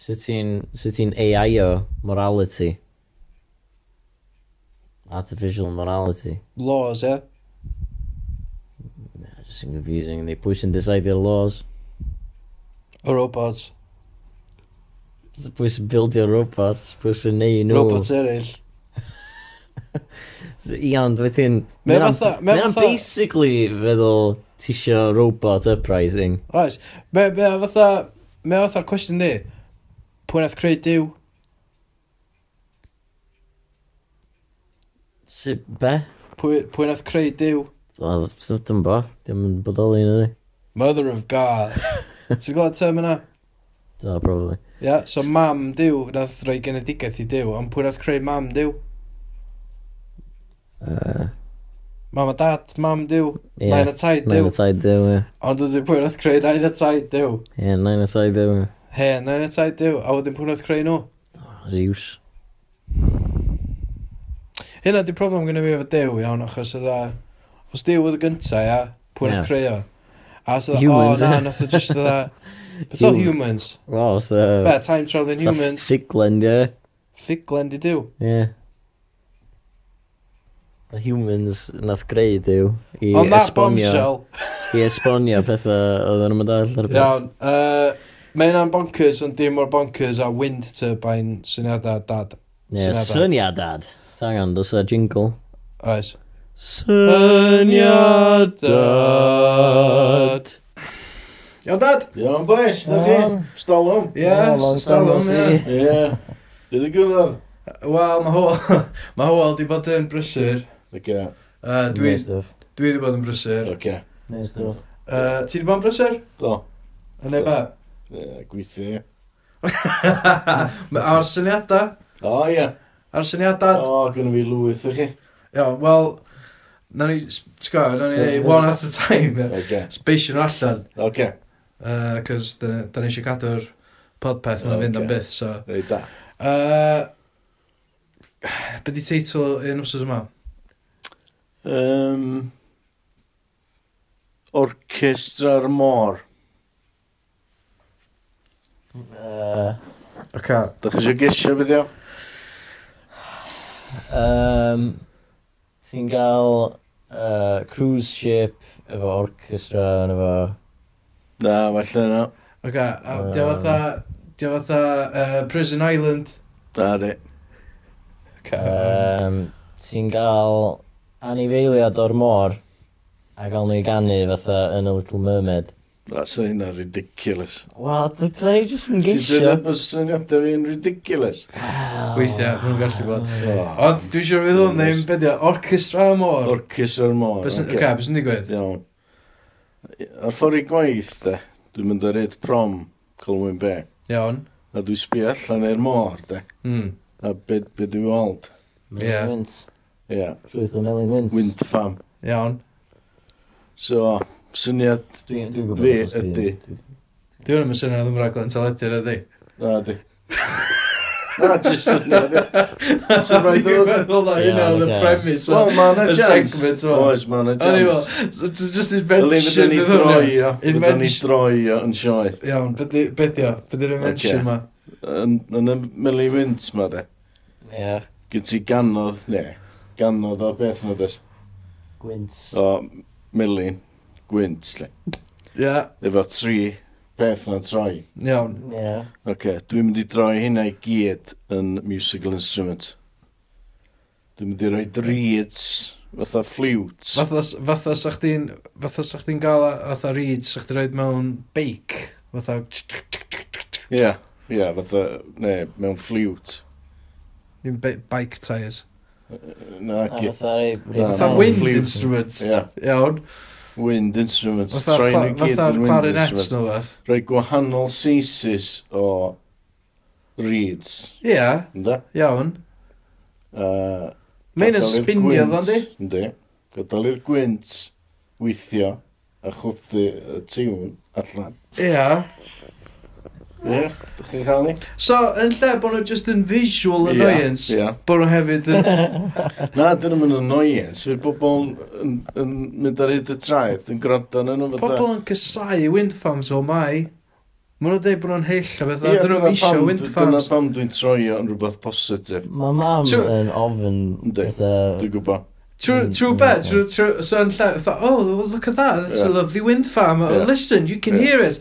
S3: Sut ti'n sut ti'n AI o morality? Artificial morality.
S2: Laws, ie.
S3: Just yn confusing. Neu pwy sy'n decide laws?
S2: O robots.
S3: So Pwy sy'n buildio robots? Pwy sy'n neu nhw?
S2: Robots eraill.
S3: So, Ia, ond wedyn...
S2: Mae
S3: mae'n am-
S2: fatha- mae
S3: Mae'n am
S2: fatha-
S3: basically feddwl tisio robot uprising.
S2: Oes. Mae mae o fatha... Mae o fatha'r cwestiwn di. Pwy nath creu diw?
S3: Sut be?
S2: Pwy, pwy nath creu diw?
S3: Oedd, dyn bo. Dim yn bodoli na di.
S2: Mother of God. Ti'n gweld term yna?
S3: Da, probably.
S2: Ie, yeah, so mam diw nath roi genedigaeth i diw, ond pwy nath creu mam diw?
S3: Uh,
S2: Mam a dad, mam diw,
S3: Ie,
S2: yeah. nain a tai
S3: Nine
S2: diw.
S3: o tai dew, ie.
S2: Ond wedi pwy nath creu nain a tai diw.
S3: e. Ie, nine o tai dew, ie.
S2: He, nain a tai diw, a wedyn pwy nath creu nhw?
S3: Zeus.
S2: Hynna di problem gyda fi efo Dew, iawn, achos oedd a... Os Dew oedd y gynta, ia, pwy
S3: Ie.
S2: nath creu o? A os oedd a, o,
S3: Humans,
S2: na,
S3: ie."
S2: nath o just oedd e- a... Beth o
S3: Human.
S2: humans?
S3: Wel, fatha...
S2: Be, time travelling
S3: fatha
S2: humans?
S3: Ffiglen, ie.
S2: Ffiglen di Dew.
S3: Ie. The humans nath greu dew i
S2: Ond na,
S3: esbonio,
S2: bombshell.
S3: i esbonio pethau oedd yn ymwneud ar beth.
S2: Iawn, yy... Mae hynna'n bonkers, ond dim o'r bonkers a wind turbine syniadau dad.
S3: Ie,
S2: syniadau.
S3: syniadad. Tangan, dos a jingle.
S2: Oes.
S3: Syniadad.
S2: Iawn, dad!
S1: Iawn boys, na chi? Stalwm?
S2: Ie, stalwm, ie.
S1: Ie. Dwi'n gwybod.
S2: Wel, mae Howell, ma Howell di bod yn brysur.
S1: Oce,
S2: Uh, dwi,
S3: Neis stuff.
S2: dwi di bod yn brysur.
S1: oce.
S3: Neis stuff.
S2: Uh, ti di bod yn brysur?
S1: Do.
S2: Yn ei be?
S1: Yy, Gweithio.
S2: Ma- A'r syniadau?
S1: O ie.
S2: A'r syniadau?
S1: O, gynnu fi lwyth o chi.
S2: Iawn, wel, na ni, ti'n gwybod, na ni
S1: Ie.
S2: neud one at a time. ie.
S1: Oce.
S2: Sbeisio nhw allan,
S1: Oce.
S2: cos da da ni eisiau cadw'r podpeth yma'n
S1: Ocê.
S2: fynd am byth, so.
S1: Reit da.
S2: Uh, Be di teitl un wsos yma?
S1: Um, Orchestra'r môr.
S3: Uh,
S2: Oce.
S1: Dach chi eisiau gesio beth yw?
S3: um, Ti'n gael uh, cruise ship efo orchestra yn efo
S1: Na, falle na.
S2: Oce, a dio fatha... Dio fatha uh, Prison Island.
S1: Na, di.
S3: um, Ti'n gael anifeiliad o'r môr a gael nhw i ganu fatha yn y Little Mermaid
S1: That's a hynna ridiculous.
S3: Wel, dydyn ni jyst
S1: Ti'n
S3: yn geisio
S1: dweud bod syniadau fi'n ridiculous?
S2: Weithiau, maen nhw'n gallu bod. Ond dwi eisiau feddwl am ddim, beth yw, orchestra am o'r.
S1: Orchestra'r môr.
S2: Oce,
S1: ocê.
S2: beth sy'n digwydd?
S1: Iawn. Ar ffordd i gwaith, de, dwi'n mynd ar hyd prom, Colwyn Be.
S2: Iawn.
S1: A dwi'n sbio allan i'r môr, de.
S2: Hmm,
S1: A beth be dwi'n weld.
S2: Ie.
S3: Wynt,
S1: Ie, yeah.
S3: llwyth o melyn wynt
S1: wind farm.
S2: iawn.
S1: So, syniad
S3: Dwi'n
S1: Fi ydi.
S2: Dwi hwnnw yn syniad am raglen teledu, ydy.
S1: Na, di. Na, jyst syniad. Sy'n rhaid
S2: Dwi'n
S1: oedd.
S2: meddwl na hynna oedd y
S3: Ie, ocê.
S2: premis. o-
S1: Wel, ma' na
S2: y
S1: chance.
S2: segment, wel.
S1: Oes, ma' na
S2: O'n i
S1: chance.
S2: fel, it's just
S1: Dyle fydden
S2: invention
S1: ni
S2: iddyn nhw.
S1: droi o. Fydden ni
S2: Invention.
S1: droi o yn sioe.
S2: Iawn, beth di- beth di o? Beth di'r invention
S1: Ocê.
S2: ma?
S1: Yn yn y Millie Wint ma de.
S3: Ie,
S1: Gyd ti ganodd, ne. Ganodd o beth na des.
S3: gwynt
S1: O Millie Gwint, le.
S2: Ie,
S1: Efo tri peth na troi.
S2: iawn.
S3: Ie,
S1: Oce, okay, dwi'n mynd i droi hynna i gyd yn musical instrument. Dwi'n mynd i roi reeds, fatha flutes.
S2: Fatha, fatha sa chdi'n, fatha sa chdi'n gael a- fatha reed, sa chdi'n rhaid mewn beic. Fatha,
S1: Ie, yeah, ie, yeah, fatha, ne, mewn flute.
S2: dim be- bike tyres.
S1: Na,
S2: Ah,
S3: a
S1: gyd.
S3: fatha rei- rei-
S1: Fatha
S2: Fatha
S1: mewn
S2: wind
S1: flute.
S2: instruments.
S1: Ie, yeah,
S2: Iawn.
S1: wind instruments.
S2: Fatha
S1: Troi nhw i
S2: cla-
S1: gyd
S2: fatha
S1: yn wind
S2: clarinets
S1: instruments.
S2: nhw fath.
S1: Rhaid gwahanol seisis o reeds,
S2: Ie,
S1: ynda?
S2: iawn.
S1: Uh,
S2: Mae'n yn spinio ddo, yndi?
S1: Yndi. Gadael i'r gwynt weithio a chwthu y tiwn allan.
S2: Ie.
S1: Ie, yeah, dych chi'n cael ni?
S2: So, yn lle bod nhw just yn visual
S1: Ie,
S2: annoyance,
S1: Ie.
S2: bod nhw hefyd yn...
S1: Na, dyn nhw'n annoyance. Fydd bobl yn, yn mynd ar hyd y traeth, yn gwrando yn nhw fatha.
S2: Pobl yn cysau wind farms o mai. Mae nhw'n dweud bod nhw'n hyll a bethau.
S1: Ie,
S2: Dyn nhw'n
S1: dyna
S2: isio
S1: pam-
S2: wind
S1: Dyna
S2: farms.
S1: pam dwi'n troi o'n rhywbeth positif.
S3: Mae mam
S2: So-
S3: yn ofyn
S1: Yndi.
S3: fatha
S1: Dwi'n gwybod.
S2: True,
S3: Mm,
S2: true
S3: mm,
S2: bed,
S3: yeah.
S2: true, true, so yn lle, fatha, oh, look at that, that's a
S1: Yeah.
S2: lovely wind farm, oh,
S1: Yeah.
S2: listen, you can
S1: Yeah.
S2: hear it.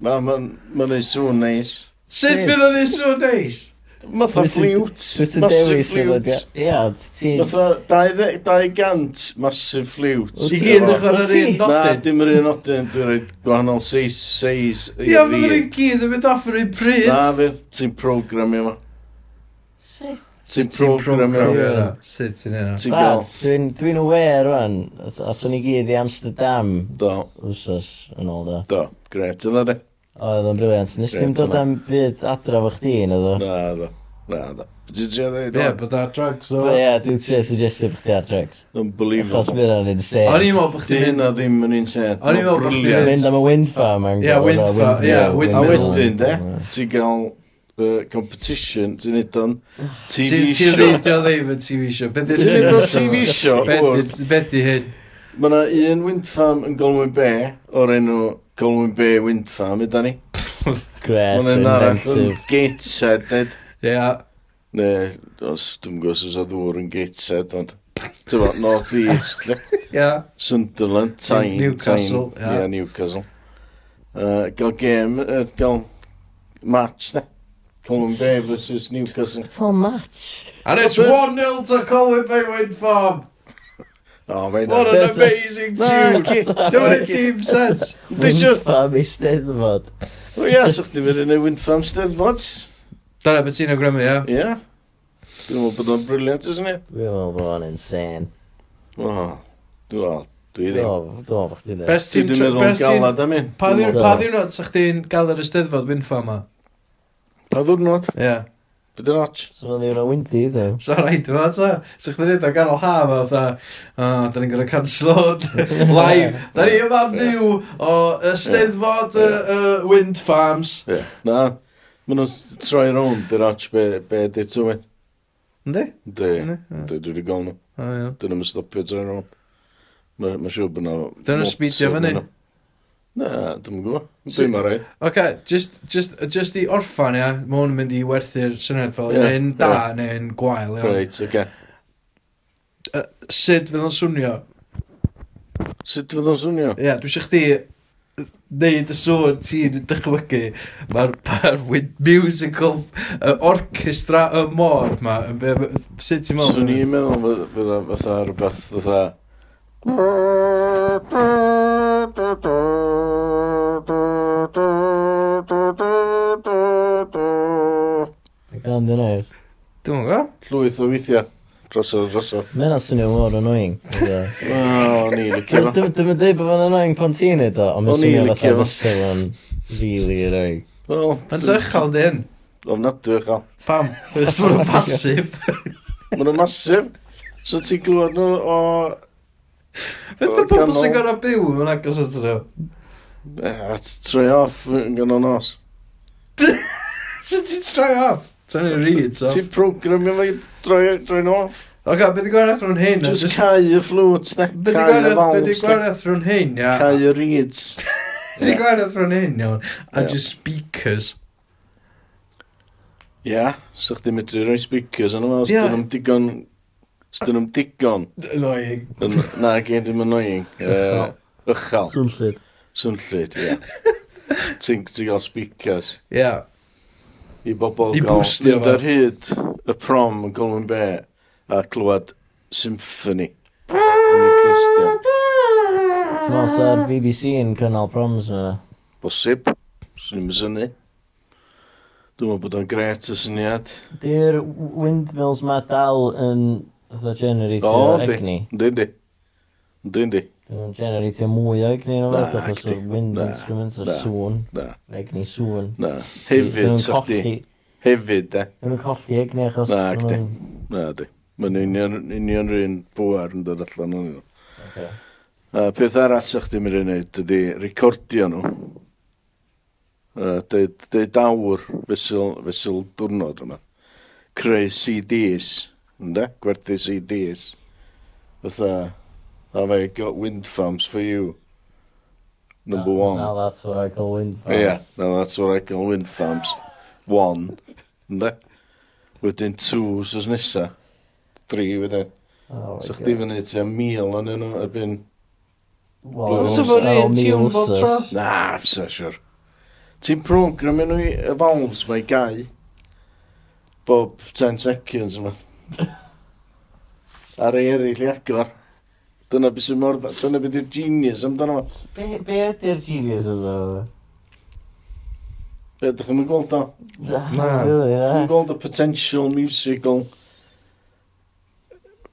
S1: Na, mae'n ma neud sŵn neis.
S2: Sut
S3: Shit.
S2: fydd o'n ei so neis?
S1: Matha
S3: Dwi'n-
S1: flute.
S3: Dwi'n
S1: Massive
S3: dewis yn
S1: flute.
S3: ydy. Ia, ti...
S1: Matha 200 massive flute.
S2: I
S3: Ti'n
S2: gyd yn
S3: gwbod?
S2: chwer yr un
S3: Ti'n-
S1: Na,
S2: nodyn.
S1: dim yr un nodyn, dwi'n rhaid gwahanol seis, seis i
S2: Ia, fydden nhw'n
S1: reed.
S2: gyd yn mynd off yr un
S1: Na,
S2: pryd.
S1: fydd ti'n programio yma.
S3: Sut?
S1: Ti'n programio yma.
S2: Sut ti'n yna?
S1: Ti'n
S3: Dad,
S1: gael.
S3: Dwi'n dwi'n aware rwan, ath- athon ni gyd i Amsterdam
S1: Do,
S3: wsos yn ôl da.
S1: do, gret yna de.
S3: Oedd o'n briliant. Nes ti'n
S1: Grêt,
S3: dod
S1: hwnna.
S3: am byd adra fo chdi yn oedd o?
S1: Na, do, na, do. Ti'n ti'n dweud?
S2: Ie, bod ar drugs o.
S3: Ie, dwi'n tre suggestio bod chdi ar drugs. Achos
S1: Unbelievable.
S3: mynd o'n
S2: O'n
S3: insane.
S2: i'n meddwl bod
S1: Di
S2: chdi'n
S1: hynna ddim yn un set.
S2: O'n i'n meddwl bo' chdi-
S1: Brilliant.
S3: Mynd am y wind farm yn
S2: Ie, wind farm, ie, wind
S1: A
S2: middle.
S1: wedyn, de, ti'n gael uh, competition, ti'n neud o'n TV
S2: Ti- Ti
S1: show.
S2: reidio ddim yn TV show. Be di'r
S1: Ti'n neud o'n TV show,
S2: Be
S1: wrth.
S2: di- Be di hyn?
S1: Mae yna un wind farm yn Golwyn Bay, o'r enw Golwyn Bay Wind Farm, yda ni. Mae
S3: Gret,
S1: yna un arall yn
S3: inventive.
S1: Gateshead, nid.
S2: Ie.
S1: Ne, os dwi'n gwybod os oedd ddŵr yn Gateshead, ond... Ti'n bod, North East, le.
S2: Ie.
S1: Sunderland, Tyne.
S2: Newcastle,
S1: Tyne.
S2: ie.
S1: Ie, Newcastle. Uh, gael game, uh, gael match, ne. Golwyn Bay versus Newcastle.
S3: It's all match.
S2: And it's 1-0 to Colwyn Bay Wind Farm.
S1: O, mae'n
S2: What an amazing tune. Dwi'n ei dim sense.
S3: Wind
S1: Dwi'n
S3: farm i steddfod.
S1: O ia, sa'ch ti'n mynd i'n ei wind farm steddfod?
S2: Dyna beth ti'n awgrymu, ie?
S1: Ie. Dwi'n meddwl bod o'n briliant, ysyn ni?
S3: Dwi'n meddwl bod o'n insane.
S1: O, dwi'n meddwl, dwi
S3: Dwi'n
S1: ddim.
S3: meddwl dwi'n meddwl bod chdi'n neud.
S2: Oh, Best
S1: Ti
S2: team...
S1: dwi'n meddwl yn
S2: best team-
S1: galad am un.
S2: Pa
S1: Dwi'n
S2: ddiwr-
S1: meddwl-
S2: pa ddiwrnod sa chdi'n gael yr ysteddfod windfa yma?
S1: Pa ddwrnod?
S2: Ie.
S1: Byd yn och.
S3: So mae'n ddiwrnod windy, dwi'n.
S2: So rhaid yma, ta? Sa chdi'n neud o ganol haf a dda, o, da ni'n gorau canslo live. Da ni yma am fyw o ysteddfod y y wind farms.
S1: Ie. Na, maen nhw'n troi rownd i'r och be, be di tywyn.
S2: Ynddi?
S1: Di,
S2: Ynddi?
S1: di, dwi wedi gael nhw.
S2: O, iawn.
S1: Dyn nhw'n stopio troi rownd. Mae'n ma siŵr bod nhw...
S2: Dyna speedio fyny?
S1: Na, dwi'n gwybod.
S2: Sy-
S1: Dwi'n ma rai.
S2: Ok, just, just, just i orffan, ia, mae hwn yn mynd i werthu'r syniad fel
S1: Ie,
S2: yeah, neu'n da
S1: ie.
S2: yeah. neu'n gwael, ia.
S1: Reit, oce.
S2: Sut fydd o'n swnio?
S1: Sut fydd o'n swnio?
S2: Ia, yeah, dwi eisiau chdi neud y sôn ti'n dychmygu mae'r par with musical y orchestra y môr ma yn be- be- sut ti'n meddwl?
S1: Swn i'n meddwl fydd- fydd o fatha rhywbeth fatha...
S3: Gan dyn nhw.
S2: Dwi'n gwybod?
S1: Llwyth o weithiau. Drosodd, drosodd.
S3: Mae yna swnio mor annoying. fatha.
S1: O, o'n i'n licio
S3: Dim
S1: fo.
S3: yn dweud bod yn annoying pan ti'n neud o, ond mae'n
S1: O'n i'n
S3: swnio
S1: licio
S3: fatha
S1: fo.
S3: fysyl yn really annoying.
S1: Wel,
S2: Mae'n tychal di hyn.
S1: ofnadwy o chael.
S2: Pam? Os mae'n pasif.
S1: Mae nhw'n masif. So ti'n glwad nhw o...
S2: Beth
S1: Wel,
S2: y pobl
S1: ganol-
S2: sy'n gorau byw yn agos at nhw?
S1: Eh, Troi off yn gan o'n os.
S2: Sut ti'n troi off? Ta'n i'n reid, so.
S1: Ti'n programio fe i droi droi'n off.
S2: Ok, beth i gwaith rhwng hyn? ia?
S1: Just
S2: Jyst-
S1: cau y flutes, ne?
S2: Be di
S1: Cau y
S2: gwared, be di
S1: valves, ne?
S2: gwared rhwng hyn, ia?
S1: Cau y reeds.
S2: Be di gwared rhwng hyn, iawn? A
S1: Ie.
S2: just speakers.
S1: Ia, so chdi medru rhoi speakers yn yma, os
S2: Ie.
S1: dyn nhw'n digon... Os dyn nhw'n digon...
S2: Annoying.
S1: yn- Na, gen i'n annoying. Yy, Uchel.
S3: Swnllid.
S1: Swnllid, ia. Ti'n ti'n gael speakers
S2: Ia.
S1: i bobl
S2: I
S1: gael
S2: bwstio
S1: mynd
S2: fo.
S1: ar hyd y prom yn Colwyn Be a clywed symphony. Yn ei clystio.
S3: Ti'n meddwl sa'r BBC yn cynnal proms yna?
S1: Bosib, swn i'n syni. Dwi'n meddwl bod o'n gret y syniad.
S3: Di'r windmills ma dal yn fatha generatio
S1: O, di.
S3: egni.
S1: Yndi, yndi. Yndi, yndi.
S3: Dyn nhw'n generatio mwy o egni yn
S1: Na,
S3: fath achos
S1: acdi.
S3: o'r wind
S1: Na,
S3: instruments a
S1: na.
S3: sŵn.
S1: Na,
S3: Egni sŵn.
S1: na.
S3: Dyn
S1: Hefyd,
S3: nhw'n
S1: sa chdi.
S3: colli-
S1: Hefyd, de.
S3: dyn nhw'n colli egni achos...
S1: Na, acdi.
S3: ma' nhw'n-
S1: Na, di. Mae'n union, union rhywun bwyar yn dod allan o'n nhw.
S3: Ocê.
S1: A peth arall sa'ch ti'n mynd i wneud ydy recordio nhw. Uh, deud, deud awr fesul, fesul diwrnod yma. Creu CDs, ynda? Gwerthu CDs. Fatha, have I got wind farms for you? Number
S3: Na-
S1: one.
S3: Now that's what I call wind farm.
S1: Yeah, now that's what I call wind farms. One, ynda? Wedyn two, sos nesa. Three, wedyn.
S3: Oh my
S1: Sa'ch
S3: God.
S1: ti'n fyny tua mil o'n nhw erbyn
S3: Wel,
S1: Os
S2: efo'r
S3: ar ôl
S2: un
S3: mil
S2: tune bob
S3: wsos.
S2: tro?
S1: Na, fsa, siwr. Ti'n program nhw i y valves mae gau bob 10 seconds yma. Ar ei eraill i agor. Dyna beth sy'n mor... Dyna beth yw'r genius amdano fo.
S3: Be be ydy'r genius yma?
S1: Be, dych chi'n mynd gweld o?
S2: Na.
S1: Dych chi'n
S3: Na. eh?
S1: gweld y potential musical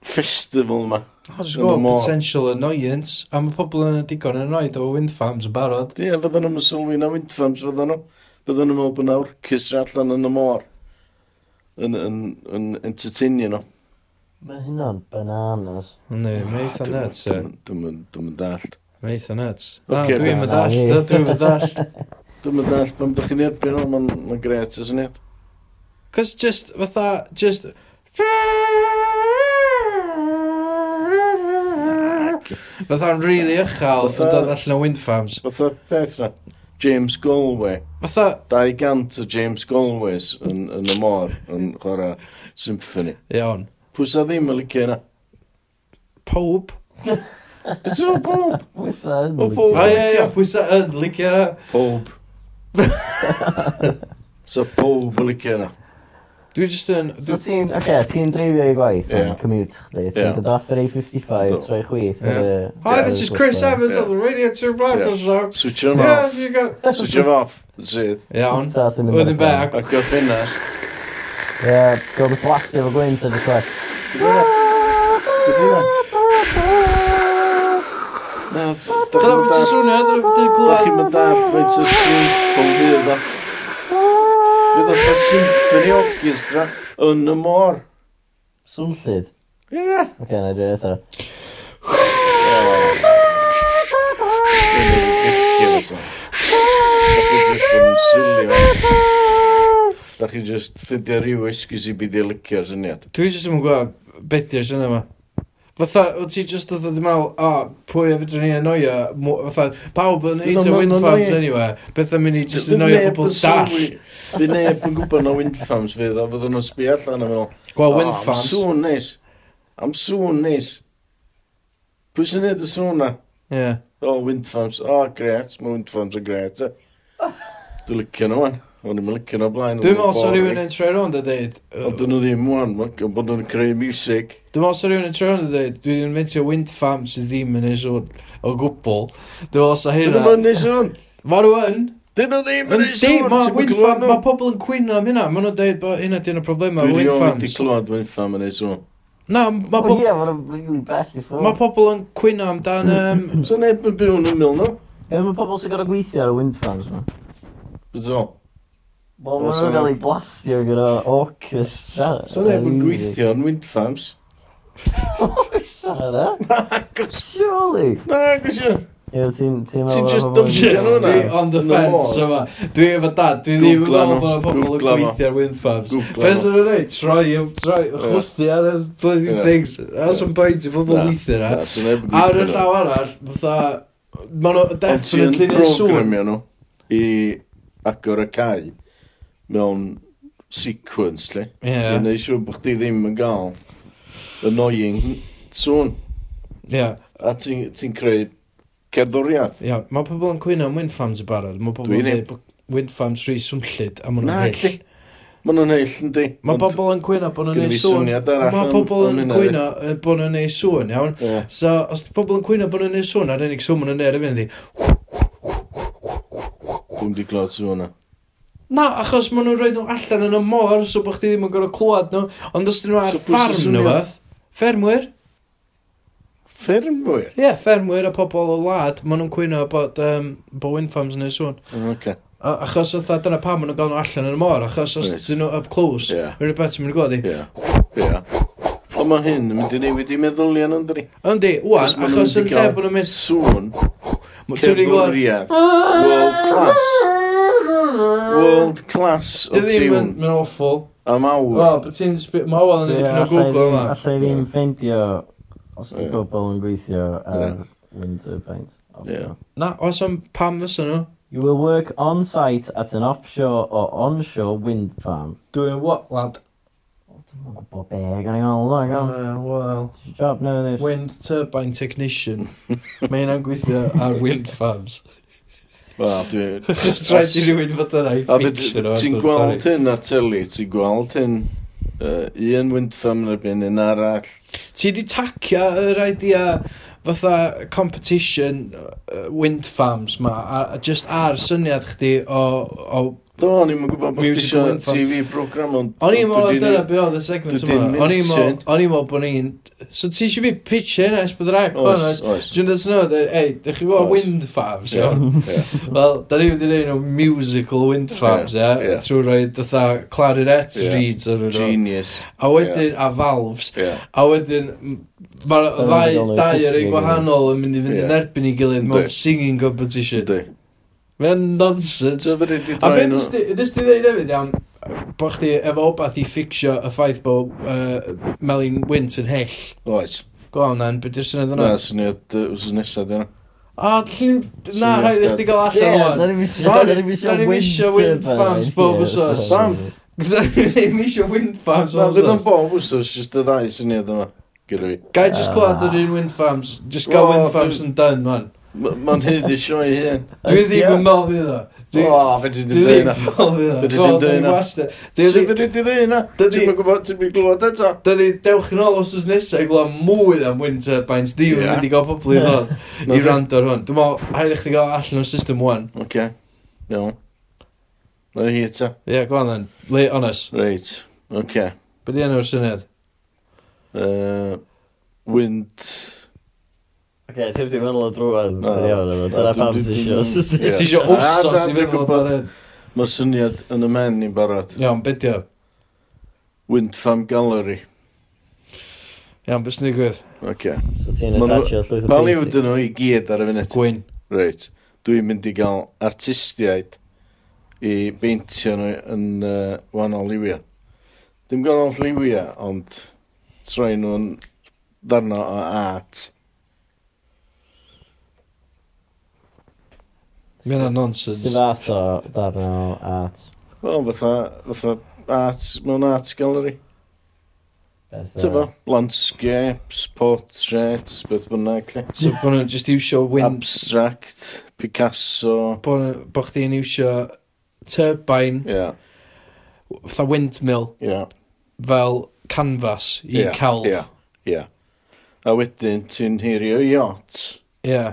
S1: festival yma.
S2: Hos
S1: Yn y
S2: go,
S1: môr.
S2: potential annoyance. A mae pobl yn y digon yn annoyed o wind farms yn barod.
S1: Ie, fydden nhw'n sylwi na windfarms, fydden nhw. Fydden nhw'n meddwl bod na orchestra allan yn y môr. Yn, yn, yn entertainio nhw.
S3: Mae hynna'n bananas.
S2: Ne, mae eitha nuts, e.
S1: Dwi'n dallt.
S2: Mae eitha nuts. Ah, Na,
S1: Ocê,
S2: Dwi'n
S1: na,
S2: meddall, na,
S3: na, ni.
S2: dwi'n meddall.
S1: Dwi'n mynd all pam ydych chi'n erbyn o, mae'n ma gret y syniad.
S2: Cos just, fatha, just... Fatha'n really uchel yn
S1: Fatha-
S2: dod allan o wind farms.
S1: Fatha peth na, James Galway,
S2: Fatha,
S1: 200 o James Galways yn, yn y môr yn chwarae symphony.
S2: iawn,
S1: Pwysa ddim yn licio yna.
S2: pob
S1: Beth sy'n o bob?
S3: Wysa yn
S1: O bob
S2: O
S1: yn
S2: Ah, ie, ie,
S1: licio.
S2: pwysa yn, licio na.
S1: Bob. So bob yn licio yna.
S2: Dwi jyst yn...
S3: So ti'n, oce, ti'n dreifio i gwaith
S1: Ie.
S3: yn commute chdi,
S1: Ie.
S3: ti'n dod off yr A55,
S1: Do.
S3: troi chwith
S2: Ie.
S3: ar y...
S2: Hi, this is Chris Evans
S1: Yeah.
S2: of the Radio 2 Blackers Show.
S1: Switch on
S2: Yeah,
S1: off.
S2: you got...
S1: Switch on off. Sydd.
S2: Iawn.
S3: Ta, ti'n mynd
S2: Wedyn
S3: ar y
S2: be,
S3: car.
S2: ac...
S1: Ac o'r ffenast.
S3: Ie, gwrdd blast efo gwynt ar y cwet.
S1: Na,
S2: Dyna beth ti'n swnio, dyna beth ti'n
S1: Da chi'n
S2: glwad.
S1: mynd all faint o symffon fydd o. Fydd o'n cael symffoni orchestra yn y môr.
S3: Swnllid.
S1: Ie.
S3: Oce, na i dreifio eto.
S1: Da chi just ffidio rhyw esgus i byd i licio'r syniad.
S2: Dwi jyst yn gwybod beth yw'r syniad yma. Fatha, o ti just oedd ddim meddwl, o, pwy a fydden ni anoio, Mo- fatha, pawb yn
S1: Dwi'n
S2: heitio
S1: meddwl
S2: wind
S1: ma'n
S2: farms
S1: annoying.
S2: anyway, beth am i ni just
S1: Dwi'n
S2: anoio
S1: neb
S2: pobl
S1: yn
S2: dall.
S1: sylwi- Fy neb yn gwybod na wind farms fydd, a fydden nhw'n sbi allan yn meddwl,
S2: Gweld wind
S1: "Oh, am
S2: farms.
S1: sŵn neis. Am sŵn neis. Pwy sy'n neud y sŵn na?
S2: Ie.
S1: O, Oh, wind farms. O, gret. Mae wind farms yn gret, e. Dwi'n licio nhw, wan. O'n i'n licio nhw o blaen.
S2: Dwi'n meddwl sa rhywun yn troi rownd a dweud,
S1: Ond dyn nhw ddim, wan. Mae'n bod nhw'n creu music.
S2: Dwi'n meddwl sa rhywun yn troi rownd a dweud, dwi'n inventio wind farm sydd ddim yn neis o o gwbl. Dwi'n meddwl sa
S1: Dyn
S2: hynna.
S1: nhw'n neud sŵn.
S2: Mae nhw yn.
S1: Dyn nhw ddim yn
S2: Yndi,
S1: neud sŵn.
S2: ma'
S1: Ti'm yn
S2: wind
S1: clywed
S2: farm-
S1: nhw?
S2: Ma' pobl yn cwyno am hynna. Ma' nhw'n deud bod hynna 'di'n y problemau,
S1: Dwi
S2: wind
S1: rioed wedi
S2: farms.
S1: clywed wind farm yn neud sŵn.
S2: Na, ma'
S3: O
S2: pobl...
S3: ie, mae'n really bell i ffwrdd.
S2: Mae pobl yn cwyno amdan... Um,
S1: So neb yn byw yn ymwyl nhw.
S3: Ie, mae pobl sy'n gorau gweithio ar y wind farms ma.
S1: Beth o?
S3: Wel,
S1: Wel,
S3: mae
S1: so-
S3: nhw'n cael ei blastio gyda orchestra.
S1: So neb yn
S3: Music.
S1: gweithio yn wind farms.
S3: Orchestra, da? Surely!
S1: Na, gwsio.
S3: Ie, ti'n... Ti'n
S1: Ti'n just
S3: pobl-
S1: dwmsio
S2: Shit,
S1: Ie, nhw na.
S2: Dwi on the
S1: Yn y
S2: fence
S1: môr.
S2: yma. Dwi efo dad, dwi ddim yn
S1: Googla
S2: meddwl
S1: nhw.
S2: bod y pobl yn
S1: Googla nhw.
S2: gweithio ar wind farms.
S1: Googla
S2: Be
S1: nhw.
S2: sy'n nhw'n neud? Troi, troi, chwthu ar y bloody
S1: Ie.
S2: things. That's some point i pobl
S1: Na.
S2: weithio na.
S1: Na, so neb yn
S2: Ar y
S1: gweithio nhw.
S2: llaw arall, fatha... Mae nhw
S1: Ond ti'n
S2: definitely yn sŵn.
S1: programio nhw i agor y cae mewn sequence, le.
S2: Ie,
S1: I neud siŵr bod chdi ddim yn gael annoying sŵn.
S2: ie.
S1: A ti'n ti'n creu cerddoriaeth.
S2: Ia, mae pobl yn cwyno am wind farms y barod. Mae pobl
S1: Dwi
S2: yn
S1: ddim.
S2: dweud bod wind farms rhy swmllid a maen
S1: Na,
S2: nhw'n
S1: lle.
S2: hyll.
S1: Mae nhw'n heill, yndi.
S2: Mae
S1: Ond-
S2: pobl yn cwyno bod nhw'n
S1: Gynna
S2: ei
S1: fi
S2: sŵn.
S1: syniad arall
S2: Mae
S1: am-
S2: pobl
S1: am
S2: yn
S1: hynna,
S2: cwyno yy, bod nhw'n ei sŵn, iawn.
S1: Ie.
S2: So, os di pobl yn cwyno bod nhw'n ei sŵn, a'r unig sŵn maen nhw'n ei fynd i.
S1: Dwi'n di glod sŵn yna.
S2: Na, achos maen nhw'n rhoi nhw allan yn y môr, so bod chdi ddim yn gorau clywed nhw. Ond os dyn nhw ar
S1: So pwy sy'n
S2: ffarm
S1: swnio?
S2: nhw fath, ffermwyr,
S1: Ffermwyr?
S2: ie, ffermwyr a pobl o wlad, maen nhw'n cwyno bod, um, bod wind farms yn ei sŵn.
S1: O, Oce.
S2: A- Achos oedd dyna pam maen nhw'n gael nhw allan yn y môr, achos os
S1: Reit.
S2: dyn nhw up close,
S1: Ie.
S2: yr beth sy'n mynd i gweld i.
S1: Ie. Ie. Ond mae hyn yn mynd i newid i meddylion yn dri.
S2: Yndi, wwan, achos yn lle bod nhw'n mynd,
S1: Sŵn,
S2: "Ma- ti'n mynd i gweld,
S1: cerddoriaeth, world class. World class o
S2: Dwi ddim yn
S1: tiwn
S2: mynd awful.
S1: am awr.
S2: Wel, bod ti'n sbio... Mae Owen yn
S3: Ie,
S2: dipyn o
S3: allai
S2: Google
S3: ddim-
S2: yma.
S3: Allai ddim ffeindio os
S1: Ie.
S3: di pobl yn gweithio ar
S1: Ie.
S3: wind turbines.
S1: Ie.
S2: Na, oes am pam fysa nhw?
S3: You will work on-site at an offshore or onshore wind farm.
S2: Dwi'n what, lad?
S3: Dwi'n yn gwybod be, gan i gael long am.
S2: Wel,
S3: Job now this.
S2: wind turbine technician. Mae hynna'n gweithio ar wind farms.
S1: Wel, dwi...
S2: Os rhaid i rhywun fod yna
S1: A
S2: i
S1: fyd-
S2: fiction o
S1: Ti'n gweld hyn ar teli, ti'n gweld hyn uh, un windfarm yn y byn, un arall.
S2: Ti di tacio yr idea fatha competition uh, wind farms ma, a, a just ar syniad chdi o... o
S1: Do, o'n i'n gwybod bod
S2: Music
S1: eisiau
S2: windfarm.
S1: TV program, ond...
S2: O'n i'n meddwl
S1: dwi
S2: na
S1: 'di
S2: dyna
S1: neud-
S2: be oedd y segment
S1: dwi 'di
S2: yma. O'n i'n meddwl-
S1: minted.
S2: o'n i'n meddwl bod ni'n... So ti eisiau fi pitch hyn es bod rhaid?
S1: Oes, oes.
S2: Dwi'n dweud sy'n dweud, ei, dych chi'n gwybod
S1: Oes.
S2: wind farms,
S1: Ie,
S2: iawn?
S1: ie.
S2: Wel, da ni wedi gwneud nhw musical wind farms,
S1: Ie,
S2: ie?
S1: ie.
S2: Trwy roi dytha clarinet
S1: Ie.
S2: reeds ar nhw.
S1: Genius.
S2: A wedyn, a valves.
S1: Ie.
S2: A wedyn, mae'r
S3: Fel
S2: ddau,
S3: yn
S2: dau ar
S3: diffyg,
S2: ei
S3: ie.
S2: gwahanol yn mynd i fynd
S1: Ie.
S2: yn erbyn i gilydd
S1: Yndi.
S2: mewn singing competition.
S1: Ydy.
S2: Mae'n nonsense.
S1: So, fe wedi
S2: A beth
S1: droi nhw.
S2: nes ti ddeud hefyd iawn, bo chdi efo obath i ffixio y ffaith bod uh, Melin Wint yn hyll.
S1: Oes.
S2: Go on then, beth yw'r syniad yna?
S1: Na, syniad uh, wrth nesaf dyna.
S2: A llun, na,
S1: Syniad
S2: rhaid i chdi gael
S3: Ie,
S2: allan o'n.
S3: da ni'n misio-
S2: Wel,
S3: da ni'n misio
S2: da ni'n
S3: wind
S2: misio wind
S3: turbine,
S2: farms bob
S3: ie,
S2: wsos.
S3: wrth gwrs.
S1: Bam.
S2: Dwi ddim eisiau wind farms
S1: Na,
S2: o'n
S1: fydd yn
S2: sens.
S1: bob wsos, jyst y ddau syniad yma. Gyda fi.
S2: Gai just clywed yr un wind farms, just gael
S1: Ah. Wel,
S2: wind farms
S1: dwi-
S2: yn done, man.
S1: M- Ma'n hyd i sioi hyn.
S2: Dwi
S3: Ie.
S2: ddim yn mel fydd o. Dwi
S1: O, fe wedi
S2: dwi
S1: dweud
S2: ddim
S1: yna.
S2: yn mel fydd o.
S1: Dwi di
S2: Go on,
S1: deud
S2: dwi
S1: hynna.
S2: wastad.
S1: Dwi
S2: Dwi
S1: wedi dweud hynna.
S2: Dydi-
S1: Ti'n mynd gwybod, ti'n mynd glwad eto.
S2: Dydy, dewch yn ôl os oes nesaf i glwm mwy am wind turbines. Dwi yn
S1: Ie.
S2: mynd i gael pobl i ddod
S1: Na
S2: i
S1: ti.
S2: rand o'r hwn. Dwi'n meddwl, rhaid i chdi gael allan o'r system 1.
S1: Oce. Iawn. Na hi eto.
S2: Ie, yeah, go on then. Le, honest.
S1: Reit. Oce.
S2: Be di enw'r syniad?
S1: Yy, Wind.
S3: Oce, ti'n mynd i meddwl o drwad.
S1: Na,
S3: Iawn,
S1: na,
S3: Dyna
S1: dwi'n-
S3: pam
S1: dwi'n-
S3: ti'n isio.
S1: dwi'n-
S3: Sysdi.
S1: Ie.
S2: Ti eisiau
S1: A, da,
S2: wsos i
S1: dwi'n
S2: fynd o'r
S1: gwbod.
S2: barod.
S1: Mae'r syniad yn y men ni'n barod.
S2: Iawn, be di o?
S1: Wind Farm Gallery.
S2: Iawn, beth sy'n digwydd?
S1: Oce.
S3: So ti'n
S1: Ma' nhw-
S3: attachio llwyth o
S1: Pal i
S3: painting.
S1: wedyn nhw i gyd ar y funud.
S2: Gwyn.
S1: Reit. Dwi'n mynd i gael artistiaid i beintio nhw yn uh, wahanol liwiau. Dim ganol lliwiau, ond troi nhw'n darno o art.
S2: Mae yna
S3: Dy
S2: nonsens.
S3: fath o ddarna o art.
S1: Wel, fatha, fatha art, mewn art gallery.
S3: beth,
S1: Ti'n
S3: yy,
S1: bo? Landscapes, portraits, beth bynnag. lle.
S2: So bod nhw'n just iwsio wind...
S1: Abstract, Picasso.
S2: Bod bo chdi'n iwsio turbine,
S1: Ia,
S2: fatha windmill,
S1: ia,
S2: fel canvas i
S1: Ie,
S2: celf.
S1: ie. ia. A wedyn ti'n hirio yacht
S2: Ie.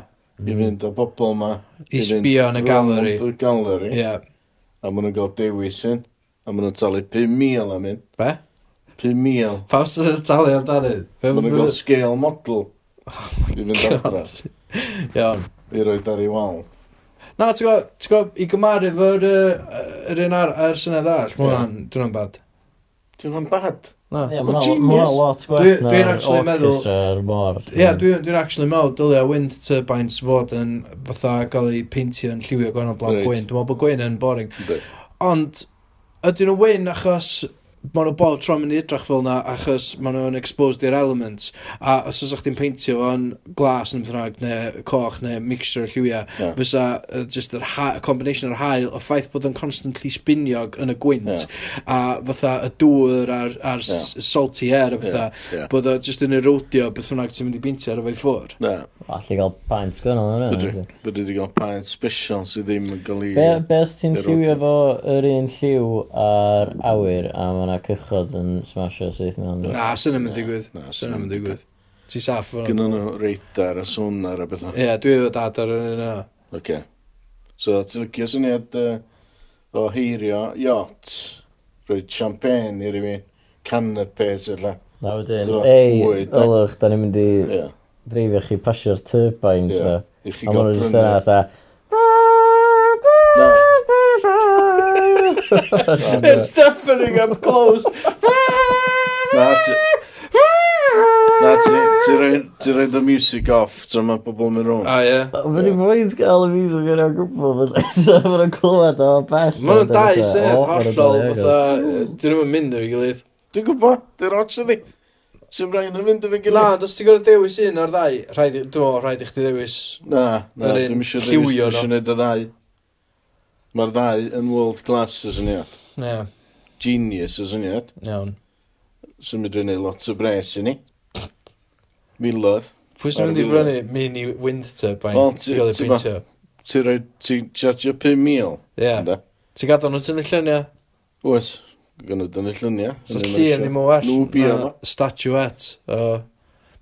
S1: i fynd o bobl ma.
S2: Mm. I sbio yn y gallery.
S1: Y gallery.
S2: Ie.
S1: A maen nhw'n cael dewis yn. A maen nhw'n talu 5,000 am un.
S2: Be?
S1: 5,000.
S2: Pam sy'n y talu amdani? Be-
S1: Maen nhw'n
S2: be-
S1: cael scale model.
S2: Oh
S1: I fynd adra.
S2: Iawn.
S1: I roed ar ei wal.
S2: Na, ti'n gwybod, ti'n gwybod, i gymaru fo'r yy, yr un ar, ar syniad arall, mae
S1: Ie.
S2: hwnna'n, dwi'n hwnna'n bad.
S1: Ti'n fan bad?
S2: Na.
S3: Ie,
S2: Ie,
S3: ma' 'na-
S1: Genius.
S3: ma' 'na lot
S2: Dwi-
S3: gwerth
S2: dwi'n
S3: na'r
S2: actually meddwl-
S3: orchestra a'r môr.
S2: yeah, dwi'n dwi actually meddwl dylia wind turbines fod yn fatha gael ei peintio yn lliwio gwahanol blaen
S1: Reit.
S2: gwyn. Dwi'n meddwl bod gwyn yn boring.
S1: Ynddi.
S2: Ond, ydyn nhw wyn achos maen nhw bob tro'n mynd i edrych fel na achos maen nhw'n exposed i'r elements a os oes chdi'n peintio fo'n glas neu beth bynnag, neu coch neu mixture o lliwiau
S1: Ie.
S2: fysa uh, just yr ha, y combination o'r haul y ffaith bod o'n constantly spiniog yn y gwynt a fatha y dŵr a'r, ar
S1: Ie.
S2: salty air a bethau
S1: Ie, ie.
S2: bod o just yn erodio beth bynnag ti'n mynd i bintio ar y fe ffwr.
S1: Na,
S3: Alli gael pint gwennol yn
S1: bydri. Bydri wedi cael paint special sydd ddim yn cael ei...
S3: Be, be os ti'n
S1: Erodio.
S3: lliwio fo yr un lliw a'r awyr a mae yna cychod yn smasho syth mewn.
S2: Na, sy'n ddim yn digwydd.
S1: Na,
S2: Sy'n ddim yn digwydd. Ti saff o'n...
S1: Gynnu nhw radar a sonar a bethau.
S2: Ie, dwi efo dad ar yn yna.
S1: Oce. So, ti'n lycio syniad uh, o heirio yachts, rhoi champagne i rywun, canapes yla.
S3: Na wedyn,
S1: T'mo,
S3: ei,
S1: bwyd, da-
S3: ylwch, da ni'n mynd i
S1: Ie.
S3: dreifio chi pasio'r turbines
S1: Ie.
S3: ma.
S1: I chi
S3: A maen
S1: gael
S3: nhw'n just yna
S1: prynu.
S3: atha,
S2: It's deafening, I'm close.
S1: Na, ti... Na, ti... Ti roi- ti roi the music off, tra mae pobl mynd rôn.
S2: A ie.
S3: Fe di fwy'n gael y fus o gyda'r gwbl, fe nhw'n clywed o bell.
S2: Mae nhw'n dau syniad
S3: O, ma' nhw'n
S2: hollol,
S3: dau,
S2: fatha, yy, dyn nhw'n mynd o'i gilydd.
S1: Dwi'n gwybod, dwi'n roch ydi. Sy'n rhaid yn fynd efo'n
S2: Na,
S1: gilydd.
S2: dos ti gorau dewis un o'r ddau, rhaid, i- dwi'n meddwl, rhaid i chdi dewis.
S1: Na, na,
S2: Yr un
S1: dwi'n eisiau dewis,
S2: lliwio
S1: dwi'n
S2: nhw.
S1: eisiau gwneud y ddau. Mae'r ddau yn world class y syniad.
S2: Ie,
S1: Genius y syniad.
S2: iawn.
S1: Sy'n mynd i wneud lot o bres i ni. Milodd.
S2: Pwy sy'n mynd i
S1: Ar y
S2: brynu mini wind turbine
S1: Wel,
S2: i
S1: ti-
S2: gael ei
S1: ti ma-
S2: peintio?
S1: Ti'n rhoi, ti'n charge 5,000.
S2: Ie.
S1: ynde?
S2: Ti'n gadael nhw tynnu lluniau?
S1: Oes, gan ydyn ni lluniau.
S2: Sa'n llun ddim yn well.
S1: Nhw bia
S2: na
S1: fo.
S2: Statuette. o-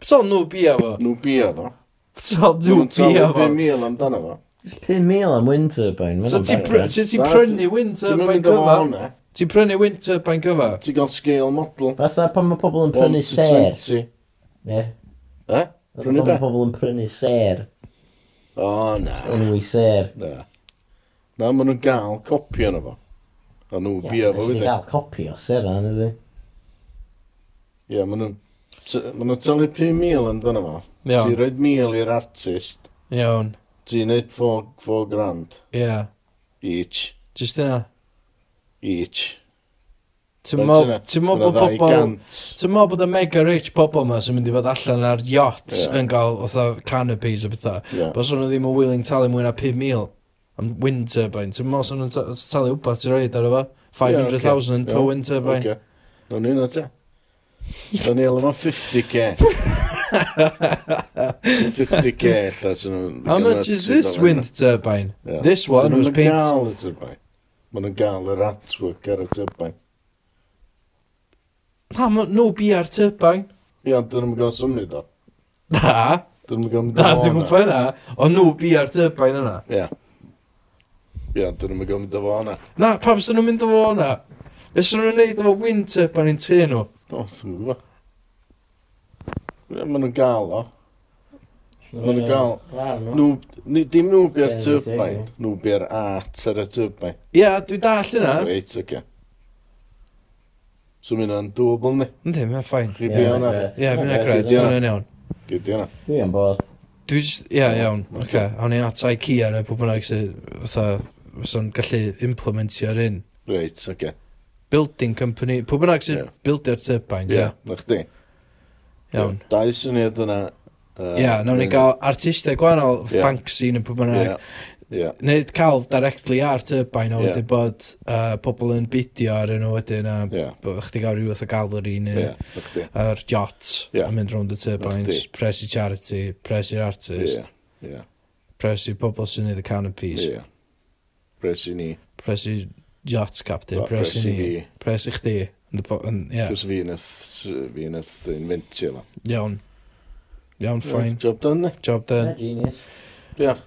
S2: Beth o'n nhw bia fo?
S1: Nhw bia fo.
S2: Beth o'n nhw bia
S1: Nhw
S2: fo?
S1: bia fo. amdano fo.
S3: 5,000 am wind turbine. ma'
S2: So
S3: hwnna'n
S2: ti
S3: bach
S2: pr-
S3: o bell.
S2: ti- ti'n
S1: Na,
S2: prynu
S1: Ti'n
S2: winter
S1: mynd
S2: ba'n
S1: efo
S2: gyfa?
S1: hwnna.
S2: Ti'n prynu winter ba'n gyfa?
S1: Ti'n gael scale model.
S3: Fatha pan mae pobl yn
S1: 1
S3: prynu
S1: to
S3: ser.
S1: 20.
S3: Ie.
S1: E?
S3: Fatha
S1: Prynu
S3: pan mae
S1: be?
S3: pobl yn prynu ser.
S1: O, na.
S3: Enwi ser.
S1: Na. Na, maen nhw'n gael copi o'n fo. A nhw bia fo,
S3: wedi.
S1: wedi.
S3: gael copi o ser yna, ydy.
S1: Ie, maen nhw'n... t- Maen nhw'n talu 5,000 amdano fo. Ti'n
S2: Iawn,
S1: rhoi 1,000 i'r artist.
S2: iawn,
S1: Ti'n neud 4 grand
S2: ie.
S1: each.
S2: Just yna.
S1: Each.
S2: Ti'n mo- ti'n mo bod pobl... Ti'n mo bod y mega rich pobl ma sy'n mynd i fod allan ar yachts
S1: Ie.
S2: yn gael otha canopies a bethau.
S1: Ie.
S2: Bos o'n nhw ddim yn willing talu mwy na 5,000 am wind turbine. Ti'n mo os o'n nhw'n ta- os talu wbath ti'n rhaid ar efo? 500,000 per wind turbine.
S1: Oce. Do'n i'n ata. Do'n i'n yma 50k. 50k allas yn
S2: How much is this wind turbine?
S1: Yeah.
S2: This one was painted.
S1: Maen nhw'n gael y turbine. Maen nhw'n gael yr artwork ar y turbine.
S2: Na, ma- no BR turbine.
S1: Ia, dyn nhw'n gael symud o.
S2: Na,
S1: Dyn nhw'n gael mynd
S2: na,
S1: o
S2: dwi'n
S1: hwnna.
S2: gwybod yna. O no BR turbine yna.
S1: Ia. Ia, dyn nhw'n gael mynd o hwnna.
S2: Na, pam sy'n nhw'n mynd o fo hwnna? Be sy'n nhw'n neud efo wind turbine yn tu nhw?
S1: O, dwi'n gwybod. Ia, maen nhw'n gael o. Maen nhw'n gael...
S3: gael.
S1: Nw, ni, dim nhw bi'r
S3: Ie,
S1: turbine,
S3: teg,
S1: nhw bi'r art ar y turbine.
S2: Ia, dwi dall yna.
S1: Reit, oce. So mynd o'n dwbl ni.
S2: Ynddi, mae'n ffain.
S1: Chi di hwnna?
S2: Ia, mae'n agred,
S1: Ydi hwnna.
S2: mae'n iawn.
S1: Chi di hwnna?
S3: Dwi am bod.
S2: Dwi jyst, ia, iawn. Oce, awn ni at IKEA neu pwy bynnag sy'n fatha, fysa'n gallu implementio ar hyn.
S1: Reit, oce.
S2: Building company, pwy bynnag sy'n
S1: Ie.
S2: buildio'r turbines,
S1: Ie,
S2: ia.
S1: na chdi.
S2: Iawn.
S1: Dau syniad yna.
S2: Ie, yeah, nawn ni gael artistau gwahanol,
S1: Ie.
S2: yeah. Banksy neu pwy bynnag.
S1: Ie, ie.
S2: Neu cael directly ar turbine o
S1: Ie.
S2: wedi bod uh, pobl yn bidio ar nhw wedyn a
S1: Ie.
S2: bod chdi gael rhyw fath o gallery neu
S1: Ie, ychydig.
S2: yr yacht
S1: Ie.
S2: yn mynd rownd y turbines,
S1: Nachdi.
S2: pres i charity, pres i'r artist,
S1: Ie, ie,
S2: pres i pobl sy'n neud y canopies,
S1: ie. Pres i ni.
S2: pres i yacht captain,
S1: Wel,
S2: pres
S1: pres
S2: i
S1: i
S2: ni,
S1: fi.
S2: pres i chdi. yn dy po- yn- Ie,
S1: Cos fi nath, fi nath inventio fo.
S2: iawn. Iawn, fine.
S1: Job done, ne?
S2: Job done.
S3: Genius.
S1: Diolch.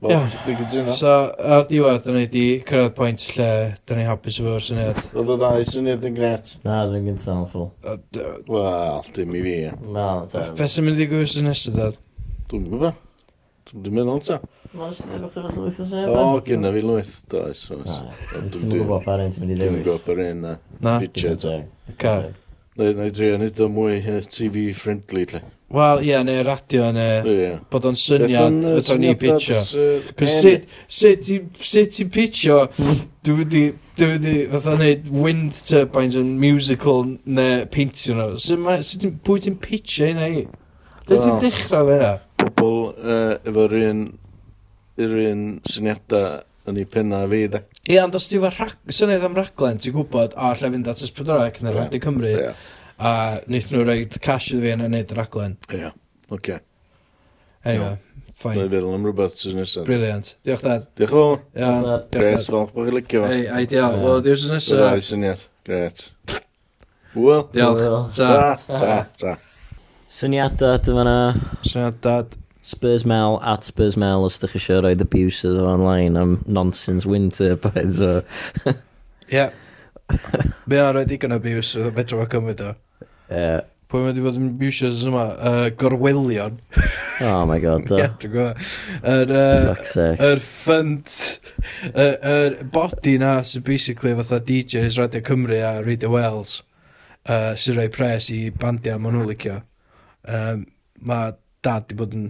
S2: Iawn.
S1: Wel, dwi'n gytuno.
S2: So, ar diwedd, dyna ni di cyrraedd pwynt lle dyna ni hapus efo'r syniad.
S1: Oedd y ddau syniad yn gret.
S3: Na, dwi'n gyntaf yn ffwl.
S2: A d-
S1: Wel, dim i fi. ie.
S3: Na,
S2: Be sy'n mynd i gwrs yn nesaf, dad?
S1: Dwi'n gwybod. Dwi'n meddwl ta.
S3: Mae'n sydd wedi'i fath o lwyth o syniad.
S1: O, gyda fi lwyth. Does, oes.
S2: Ah,
S3: Ti'n gwybod pa rhaid ti'n mynd i
S1: Dwi'n
S3: ddewis.
S1: gwybod par un na.
S2: Na?
S1: Richard.
S2: Ca.
S1: Na i drio nid o mwy yy, TV friendly, lle.
S2: Wel, ie, neu radio, neu
S1: Ie.
S2: bod o'n syniad, fydda ni pitcho. Cos sut, sut i, sut i pitcho, dwi wedi, dwi wedi, fatha neud wind turbines yn musical neu peintio nhw. Sut ma, sut ti'n, pwy ti'n pitcho hynna i? Lle ti'n
S1: Wel.
S2: dechrau fe yna?
S1: Pobl yy, efo'r un, yr un syniadau yn ei penna fi, da.
S2: Ie, ond os ti'n syniad am raglen, ti'n gwybod, a lle fynd at Ysbrydorec neu
S1: Ie.
S2: Radio Cymru,
S1: Ie.
S2: a wnaeth nhw roi cash iddo fi yna neud y raglen.
S1: Ie. Oce.
S2: Anyway,
S1: Dwi'n
S2: fine.
S1: feddwl am rhywbeth sy'n nesaf.
S2: Brilliant. Diolch dad.
S1: Diolch yn fawr.
S2: Iawn.
S3: Dad.
S2: Diolch
S1: Gres,
S2: dad.
S1: falch bod chi'n licio fo.
S2: Ei, ideal.
S3: Ie.
S2: Wel, diwrs yn
S1: Dwi'n
S2: nesaf.
S1: ddau syniad. Gret. Wel.
S2: Diolch.
S3: Diolch.
S2: Ta.
S1: Ta, ta, ta.
S3: Syniadau dyma na.
S2: Syniad dad.
S3: Spurs Mel, at Spurs Mel, os ydych chi eisiau roed abuse iddo fo online am nonsense winter, beth o.
S2: Ie. Be o'n rhaid digon o biws, oedd o bedro fo cymryd o.
S3: Yy,
S2: Pwy mae wedi bod yn biwsios yma? Uh, gorwelion.
S3: Oh my god,
S2: Ie,
S3: do.
S2: dwi'n gwybod. Yr... yy,
S3: Fuck's sake.
S2: Yr ffynd... y- Yr body na sy'n basically fatha DJs Radio Cymru a Radio Wales uh, sy'n rhoi pres i bandiau maen nhw'n licio. Um, mae dad wedi bod yn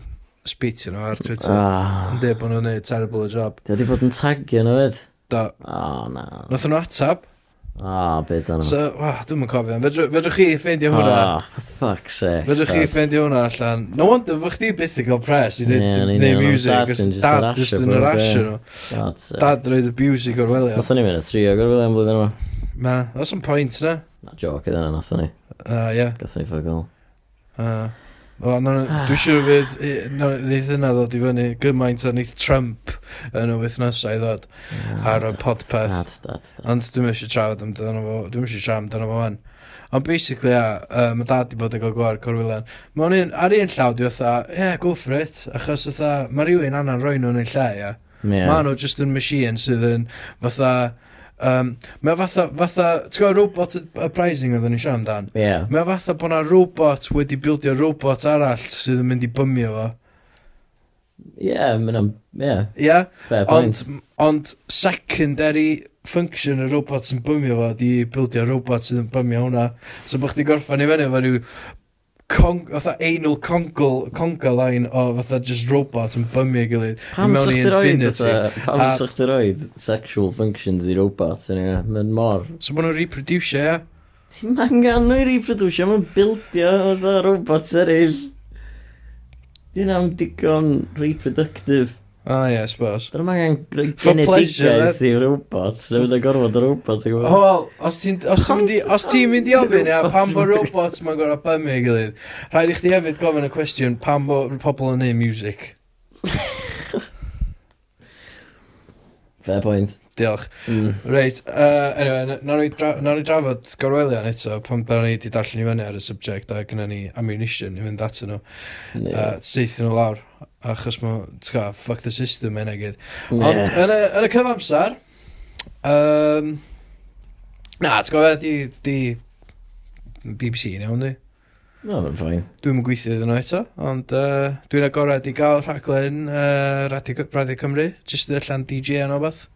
S2: sbitio nhw ar Twitter.
S3: Ah,
S2: Yn dweud bod nhw'n neud terrible o job.
S3: Dwi wedi bod yn tagio nhw fydd.
S2: Do.
S3: Oh, na.
S2: Nath nhw atab.
S3: Ah, beth yna.
S2: So, wa, dwi'n mynd cofio. Fedrw- Fedrwch chi ffeindio hwnna.
S3: Ah, for fuck's sake.
S2: Fedrwch chi
S3: dad.
S2: ffeindio hwnna allan. No wonder, fo chdi byth i gael pres i
S3: Ie, yn
S2: neud
S3: union,
S2: neud
S3: ond
S2: music.
S3: dad
S2: cos
S3: yn jyst
S2: Dad
S3: arasio
S2: just yn
S3: bob
S2: yr
S3: peth.
S2: asio nhw.
S3: God's sake.
S2: Dad roed y music o'r welio.
S3: Nath o'n i mynd y trio gorfod am blwyddyn yma.
S2: Na, that's some point na.
S3: Na, joc ydyn nhw, nath o'n i.
S2: Ah, ie.
S3: Gath o'n i ffogol.
S2: Ah. Wel, nawn ni-
S3: Ah.
S2: Dwi'n siŵr fydd i- nawn ni- neith yna ddod i fyny gymaint a neith Trump yn y wythnosau ddod ar y podpeth.
S3: Dad, dad, dad.
S2: Ond dwi'n eisiau trafod amdano fo, dwi'n eisiau trafod amdano fo fan. Ond basically, a, uh, mae dad i bod yn cael gwair Corwillan. Mae o'n un, ar un llaw, dwi fatha, ie, yeah, go for it. Achos fatha, mae rhywun anna'n rhoi nhw'n ei lle, ie.
S3: Ie.
S2: Mae nhw just yn machine sydd yn fatha... Um, mae fatha, fatha, ti'n gwybod robot uprising oedden ni siarad amdan?
S3: Ie.
S2: Mae o fatha bod na robot wedi bildio robot arall sydd yn mynd i bymio fo.
S3: Ie, mynd am... Ie,
S2: Ia? Yeah?
S3: fair
S2: Ond,
S3: point.
S2: ond secondary function y robot sy'n bymio fo di bildio robot sydd yn bymio hwnna. So bych di gorffan i fyny fo rhyw cong, fatha anal congol, conga line o fatha just robot yn bymio ei gilydd.
S3: Pam
S2: mewn i
S3: sa'ch ti roed
S2: infinity.
S3: fatha... Pam
S2: A-
S3: sa'ch ti roed sexual functions i robot yn yna? Mae'n mor...
S2: So bod nhw'n reproduce, e, ia?
S3: Ti'n angen nhw i reproducio, mae'n bildio oedd o robots eraill. Dyn am digon reproductive.
S2: Ah, ie, I suppose.
S3: Dyn am angen rhoi
S2: For pleasure, eh?
S3: genedigaeth i robots. Dyn am gorfod y robots. ti'n gwbod?
S2: Wel, os ti'n os ti'n mynd i- os ti'n mynd i ofyn, ia,
S3: Robots
S2: pam bod
S3: yn-
S2: robots ma'n gorau bymio ei gilydd, rhaid i chdi hefyd gofyn y cwestiwn, pam bod pobl yn neud music? Oh.
S3: Fair point.
S2: Diolch.
S3: Mm.
S2: Reit, uh, anyway, n- nawn ni dra- nawn ni drafod gorwelion eto, pan da ni wedi darllen i fyny ar y subject a gyda ni ammunition i fynd at nhw,
S3: Ie.
S2: a seithio nhw lawr, achos ma, ti'n gwbod, fuck the system yna gyd. Ond
S3: Ie.
S2: yn y, yn y cyfamsar, um, na, ti'n gwybod, di, di BBC yn iawn, di.
S3: No, mae'n ffain.
S2: Dwi'm yn gweithio iddyn nhw eto, ond uh, dwi'n agored i gael rhaglen uh, Radio, Radio Cymru, jyst allan DJ yn o beth.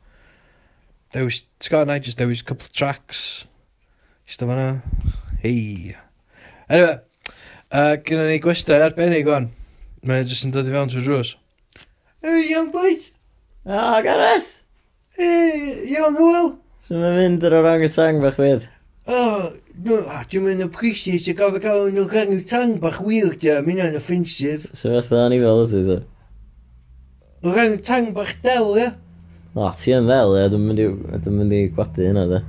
S2: Dewis, ti'n gwybod, na, jyst dewis couple of tracks. Jyst o fanna. Hei. Anyway, uh, gyda ni gwestiwn arbennig o'n. Mae jyst yn dod i fewn trwy drws. Hey, young boys.
S3: O, Gareth!
S2: Hey, young Will.
S3: So mae'n mynd yr orang y tang bach fydd.
S2: Oh, no, ah, dwi'n mynd appreciate y gofio gael nhw'n gangu tang bach weird ia, mynd yn offensif.
S3: So fatha anifel ydy ti?
S2: O gangu tang bach del ia.
S3: O, ti yn ddel, e, dwi'n mynd i- dwi'n mynd i gwadu hynna, de.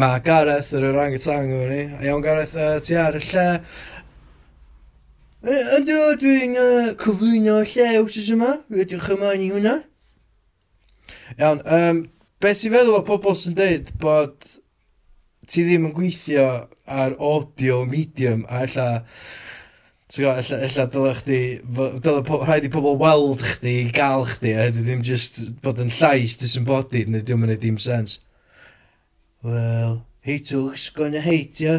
S2: Mae Gareth yr orang y tang o'n ni. A iawn Gareth, uh, ti ar y lle. Yy, Ydw, dwi'n uh, cyflwyno lle wrth yma. Ydwch yma ni hwnna. Iawn, um, beth sy'n feddwl o bobl sy'n deud bod ti ddim yn gweithio ar audio medium a ella ti'n gwybod, ella, ella dyle chdi fo- dyle po- rhaid i pobl weld chdi i gael chdi a hynny ddim just bod yn llais disembodied neu ddim yn ei dim sens Wel, heitwch gonna hate you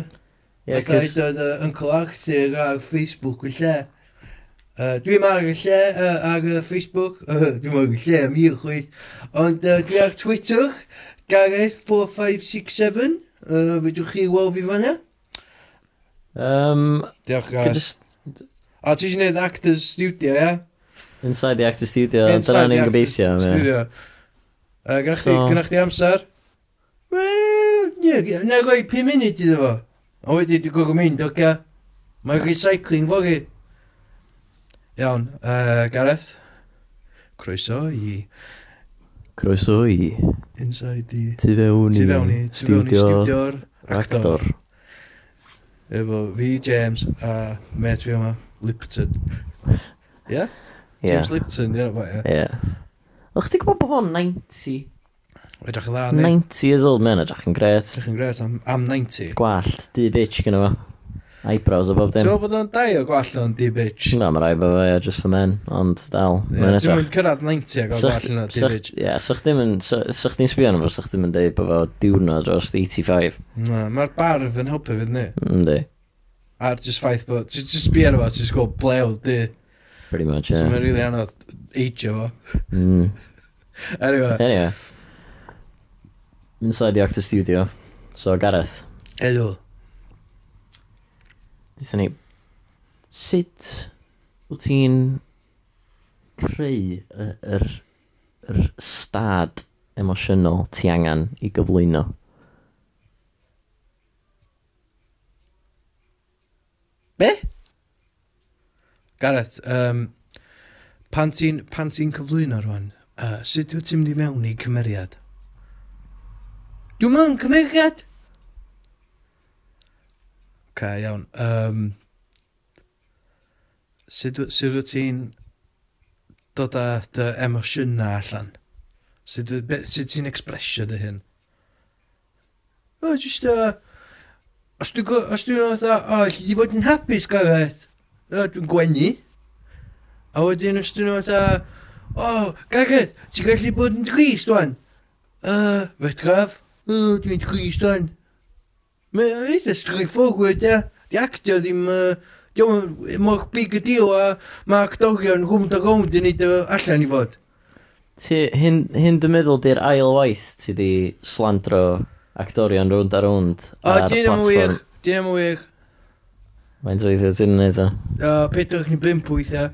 S3: Ie,
S2: Yeah,
S3: cys...
S2: Ac oedd uh, Uncle Arthur ar Facebook y lle. Uh, dwi'n ar y lle uh, ar uh, Facebook, uh, dwi'n ar y lle am hir chweith, ond uh, dwi ar Twitter, Gareth4567, uh, fydwch chi weld fi fanna.
S3: Um,
S2: Diolch
S3: could
S2: Gareth.
S3: just
S2: A ti eisiau gwneud Actors Studio, ia?
S3: inside the actor studio, dyna ni'n gobeithio.
S2: Actors
S3: ie.
S2: Studio. Uh, Gynna chdi,
S3: So-
S2: so... chdi amser? Wel, ie, na roi 5 munud iddo fo. A wedi dwi'n gorau mynd, oce? Mae recycling fori. Iawn, uh, Gareth? Croeso i
S3: Croeso i
S2: Inside the...
S3: tu fewn
S2: Tu fewn i,
S3: i
S2: tu fewn i
S3: studio
S2: studio'r actor.
S3: actor.
S2: Efo fi, James, a met fi yma, Lipton. Ie? Yeah?
S3: Ie,
S2: James Lipton, ie, fo, ie.
S3: ie. O'ch ti'n gwybod bod o'n 90?
S2: Edrych yn dda, ni.
S3: 90 years old man, edrych yn gret.
S2: Edrych yn gres am, am 90.
S3: Gwallt, di bitch gyda fo. Eyebrows o bob
S2: Ti'n
S3: dim.
S2: meddwl bod o'n dau o gwall o'n D-Bitch?
S3: Na, mae rai bo fe, ie, just for men, ond dal.
S2: Ie,
S3: Mae'n
S2: Ti'n
S3: edrych.
S2: mynd cyrraedd 90 ac o'n
S3: Sa-
S2: gwall o'n
S3: sa-
S2: D-Bitch?
S3: Ie, sa'ch ddim yn, sa- sa chdi'n sbio arno fo, sa'ch ddim yn deud bod fo diwrnod dros 85.
S2: Na, mae'r barf yn helpu fydd ni.
S3: Yndi,
S2: A'r just ffaith bod, ti'n just sbi arno fo, ti'n sgol blew, di.
S3: pretty much,
S2: So mae'n
S3: ie.
S2: rili anodd eidio fo.
S3: Mm.
S2: Anyway,
S3: Anyway. Inside the actor studio. So, Gareth,
S2: hello.
S3: dithon ni, sut wyt ti'n creu y- yr, yr stad emosiynol ti angen i gyflwyno?
S2: Be? Gareth, um, pan ti'n pan ti'n cyflwyno rwan, uh, sut wyt ti'n mynd i mewn i cymeriad? Dwi'n mewn cymeriad! Ca, iawn. Um, sut wy- sut wyt ti'n dod â dy emosiynau allan? Sut, wy- be- sut ti'n expresio dy hyn? O, just Uh, Os dwi'n go- os dwi'n fatha, o, alli di fod yn hapus Gareth? O, dwi'n gwenu. A wedyn os dwi'n fatha, o, Gareth, ti'n gallu bod yn drist wan? O, fedraf, o, dwi'n drist wan. Mae eitha straightforward, ia. Di actio ddim, yy, diom yn mor big a deal a mae actorion rhwm da rownd yn neud o allan i fod.
S3: Ti, hyn, hyn dy meddwl di'r ail waith ti di slandro actorion rownd a rownd
S2: O,
S3: ar
S2: dyn am
S3: platfform.
S2: wych, dyn am wych.
S3: Mae'n dweithio ti'n neud o.
S2: O, pedwch ni bimp weithio.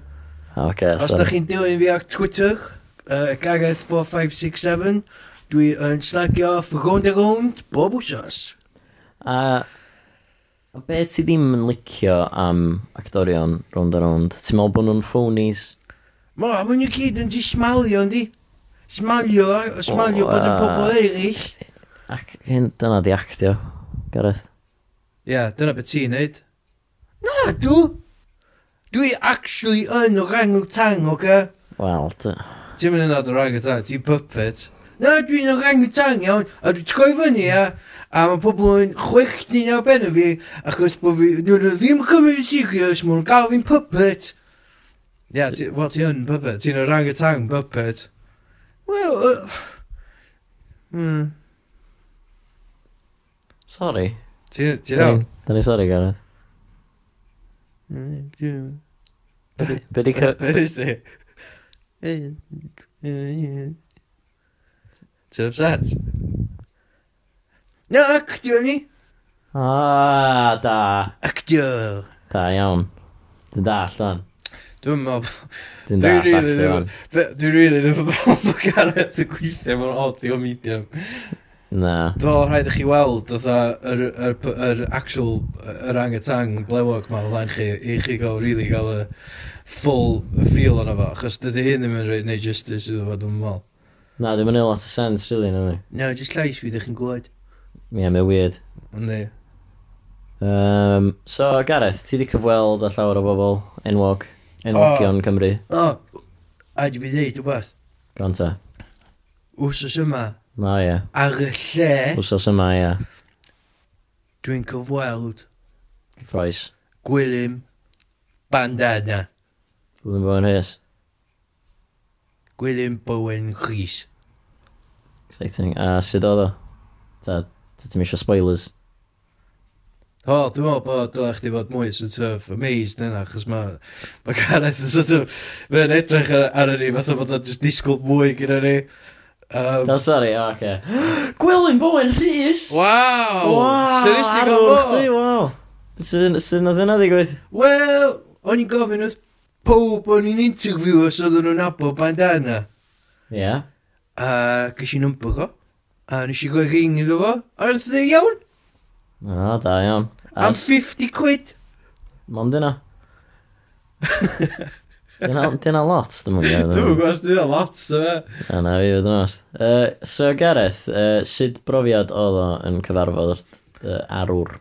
S3: O, okay,
S2: Os da chi'n dilyn fi ar Twitter, uh, Gareth4567, dwi yn slagio off round a round bob wsos.
S3: A, a beth ti ddim yn licio am actorion rownd a rownd? Ti'n meddwl bod nhw'n ffonies?
S2: Ma, ma nhw gyd yn di smalio, yndi? Smalio, ar- smalio
S3: O,
S2: bod yn
S3: yy.
S2: pobol eraill.
S3: Ac hyn, dyna di actio, Gareth.
S2: Ie, yeah, dyna beth ti'n neud. Na, dw! Dwi actually yn o rang o tang, oce? Okay?
S3: Wel, dy...
S2: Ti'n mynd yn adnod rang o tang, ti'n puppet. Na, dwi'n yn rang o tang iawn, a dwi'n troi fyny ia, a mae pobl yn chwechtin ar ben o fi, achos bod fi, dwi'n nhw ddim yn cymryd yn serious, mae'n gael fi'n puppet. Ia, ti- wel, ti yn puppet, ti'n yn rang o tang puppet. Wel, uh, mm,
S3: Sorry.
S2: ti- ti'n iawn?
S3: Dyna ni sorry, Gareth.
S2: Mm, Ti'n
S3: Be di cy...
S2: Be is di? Ti'n upset? Na, actio ni.
S3: Ah, da.
S2: Actio.
S3: Da, iawn. Dwi'n da allan.
S2: Dwi'n meddwl...
S3: Dwi'n da
S2: Dwi'n
S3: allan.
S2: rili ddim... Dwi'n rili ddim yn meddwl bod Gareth yn gweithio mewn audio medium.
S3: Na.
S2: Dwi'n meddwl rhaid i chi weld oedd yr, yr, yr actual yr angetang blewog ma o flaen chi i chi gael really gael y full feel o'n efo achos dydy hyn ddim yn rhaid neu justice iddo fo dwi'n meddwl
S3: Na, ddim yn ei lot o sens, really, na fi.
S2: No, just llais fi ddech chi'n gwybod
S3: Ie, mae'n weird.
S2: Yndi
S3: Um, so, Gareth, ti di cyfweld a llawer o bobl enwog. Enwogion oh. Cymru.
S2: O, a di fi ddeud rhywbeth
S3: Gonta.
S2: Wsos yma
S3: Na, ie.
S2: ar y lle
S3: Wsos yma, ie.
S2: dwi'n cyfweld
S3: Cyffroes.
S2: gwylym bandana
S3: Gwylym Bowen Rhys.
S2: gwylym Bowen Rhys
S3: Exciting. A sut oedd o? Da, da ti'n eisiau spoilers.
S2: O, dwi'n meddwl bod dylech chi fod mwy sort of amazed yna, achos mae ma Gareth yn sort of, mae'n edrych ar, ar ni, fatha bod o'n just disgwyl mwy gyda ni. Um,
S3: No, sorry, o, oce. Gwylym Bowen Rhys!
S2: wow! Seriously,
S3: arw chdi,
S2: gofod?
S3: Waw! Sut sut nath yna ddigwydd?
S2: Wel, o'n i'n gofyn wrth pob o'n i'n interview os oedden nhw'n abo bandana.
S3: Ie.
S2: A ges i'n number go, a nes i gweld ring iddo fo, a wnaeth e iawn,
S3: O, da iawn.
S2: am 50 quid.
S3: Mond yna. Dyna lot, dim ond gael.
S2: Dwi'n gwybod os dwi'n lot, so fe.
S3: A na fi fod yn ost. Uh, so Gareth, uh, sut brofiad oedd o yn cyfarfod uh, arwr?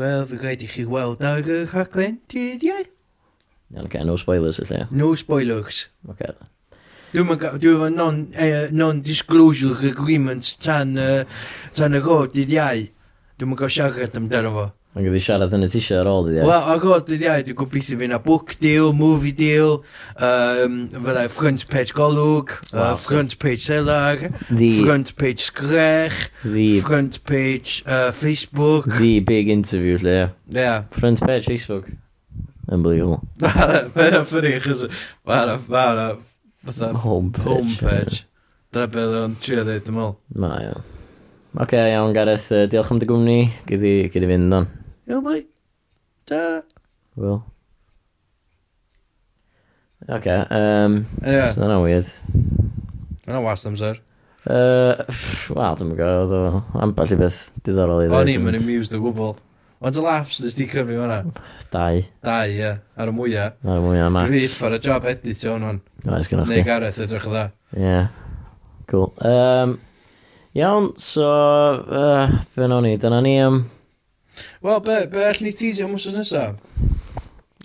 S2: Wel, fi gwaith i chi weld ar y rhaglen, dyddiau.
S3: Iawn, okay, no spoilers y lle.
S2: No spoilers.
S3: Okay.
S2: Dwi'n mynd dwi efo non, eh, non-disclosure agreements tan, uh, tan y gofod dydd iau. Dwi'n mynd gael siarad amdano fo.
S3: Mae'n gyda siarad yn y tisio ar ôl,
S2: Yeah.
S3: dwi.
S2: Wel, ar gofod dydd iau, dwi'n gobeithio fy'n a book deal, movie deal, um, fyddai front page golwg, wow. uh, front page selar,
S3: The,
S2: front page sgrech,
S3: the,
S2: front page uh, Facebook. Ie.
S3: the big interview lle.
S2: Yeah.
S3: Front page Facebook. Unbelievable.
S2: Mae'n ffynnu, chos mae'n a fatha
S3: Home page.
S2: homepage. Dyna beth o'n trio dweud, dwi'n meddwl.
S3: Na, iawn. Oce, okay, iawn, Gareth. Uh, diolch am dy gwmni. Gyddi, gyddi fynd o'n.
S2: Iawn, boi. Da.
S3: Wel. Oce, okay, um,
S2: Anyway.
S3: so yna weird.
S2: Yna wast amser.
S3: Uh, Wel, dwi'n gwybod, oedd o ambell i beth diddorol i
S2: O'n i'n
S3: ond
S2: mynd amused o gwbl. Ond y laughs nes di cyfri hwnna.
S3: Dau,
S2: Dau, ie. Ar y mwyaf.
S3: ar y mwy am
S2: Rwy'n
S3: Max.
S2: ffordd y job edit o'n hwn.
S3: Oes gynnwch
S2: Neu
S3: chi.
S2: Gareth edrych o dda.
S3: Ie. Cool. Um, iawn, so, uh, fe nawn ni, dyna ni am...
S2: Wel, be, be allan ni teasio am wsos nesaf?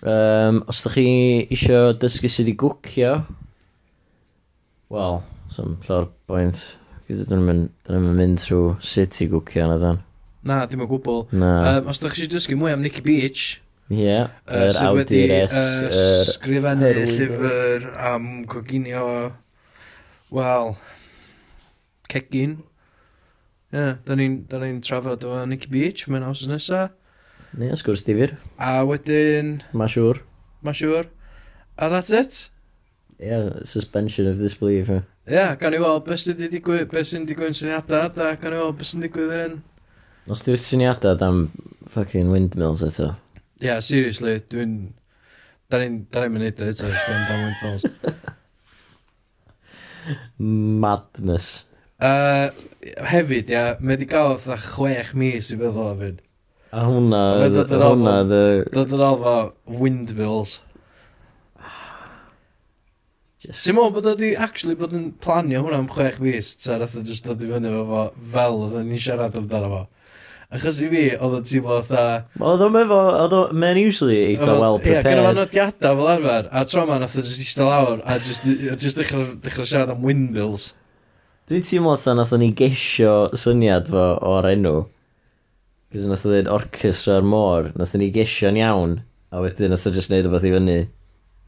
S3: Um, os ydych chi isio dysgu sydd i gwcio, wel, sy'n llawer bwynt. Gwyd dyn nhw'n mynd trwy sut i gwcio na dan.
S2: Na, dim o gwbl.
S3: Na.
S2: Um, os da chi eisiau dysgu mwy am Nicky Beach,
S3: Ie,
S2: uh,
S3: yr
S2: sydd wedi uh,
S3: awdures, yr...
S2: sgrifennu
S3: yr-
S2: llyfr am coginio, wel, cegin. Ie, yeah, da ni'n da ni trafod o Nicky Beach, mae'n awsos nesaf.
S3: Ie, sgwrs difyr,
S2: A wedyn,
S3: ma siŵr.
S2: Mae'n siŵr. A that's it.
S3: Ie, suspension of disbelief. ie.
S2: Ie, yeah, gan i weld beth sy'n digwydd, beth sy'n digwydd yn syniadau, a gan i weld beth sy'n digwydd yn...
S3: Os di'r syniadau am fucking windmills eto.
S2: Ie, yeah, seriously, dwi'n... Da ni'n da ni'n mynd eto, e eto, stand down with balls.
S3: Madness.
S2: Uh, hefyd, ie, yeah, mae wedi gael fatha chwech mis i feddwl o fyd.
S3: A hwnna,
S2: Mae dod yn
S3: hwnna,
S2: ofal.
S3: the...
S2: Dod yn ôl fo windmills.
S3: Just-
S2: Ti'n meddwl bod o wedi actually bod yn planio hwnna am chwech mis, ta rath o just dod i fyny efo fo fel oedden ni'n siarad amdano fo. Achos i fi, oedd o'n teimlo fatha...
S3: Oedd o'n efo, oedd o'n, mae'n usually eitha well
S2: Ie, gyda fan
S3: prepared.
S2: nodiadau fel arfer, a tro ma nath o jyst eistedd lawr, a jyst jyst dechrau dechrau siarad am windmills.
S3: Dwi'n teimlo oedd nath o'n i gesio syniad fo o'r enw. Cos nath o ddweud orchestra ar môr, nath o'n i gesio'n iawn. A wedyn nath o'n just neud o beth i fyny.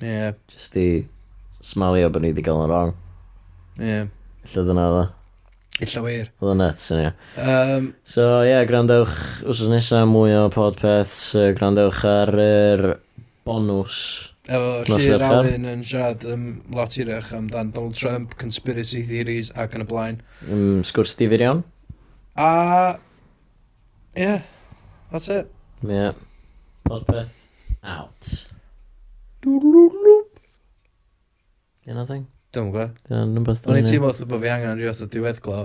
S2: Ie,
S3: Just i smalio bod ni wedi gael yn wrong.
S2: ie,
S3: Lle dyna oedd o.
S2: illa wir.
S3: Oedd o'n nuts yn iawn.
S2: Um,
S3: So ie, yeah, grandewch wrth nesaf mwy o podpeths. yy, Grandewch ar yr bonws.
S2: efo
S3: Nos
S2: Llyr
S3: ferchan.
S2: Alun yn siarad um, lot irach amdan Donald Trump, conspiracy theories ac yn y blaen.
S3: Mm, sgwrs difyr iawn.
S2: A, ie, yeah, that's it.
S3: Ie. Yeah. Podpeth out.
S2: Dwdlwdlw.
S3: Dyna thing.
S2: Dwi'n gwybod.
S3: Dyna'n rhywbeth
S2: O'n i'n teimlo wrth bod fi angen rhywbeth o diweddglo.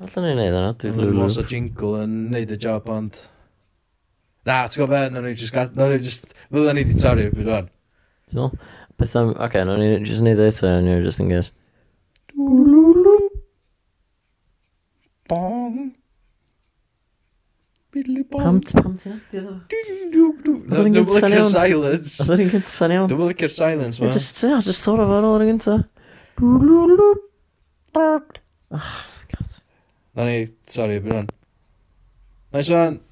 S3: Alla ni'n neud hwnna,
S2: Dwi'n
S3: dwi'n
S2: gwybod
S3: lwlw.
S2: mos o jingle yn neud y job, ond... Na, ti'n gwybod beth, nawn ni'n just... gad- Nawn ni'n just... Fydden ni wedi torri'r byd o'n.
S3: Ti'n meddwl? Beth am... Oce, no, ni'n just neud o eto, ni'n just yn gys.
S2: Bong. Billy
S3: Pam,
S2: bong.
S3: pam ti'n adio ddo? Oedd
S2: Dwi'n
S3: o'n
S2: dwi'n
S3: gynta'n
S2: licio'r
S3: iawn.
S2: silence.
S3: Oedd o'n gynta'n iawn.
S2: Dwi'n licio'r silence,
S3: Ie,
S2: man.
S3: Just, yeah, just thought of it all yn gynta.
S2: Nawn ni torri'r byd o'n. Nice one.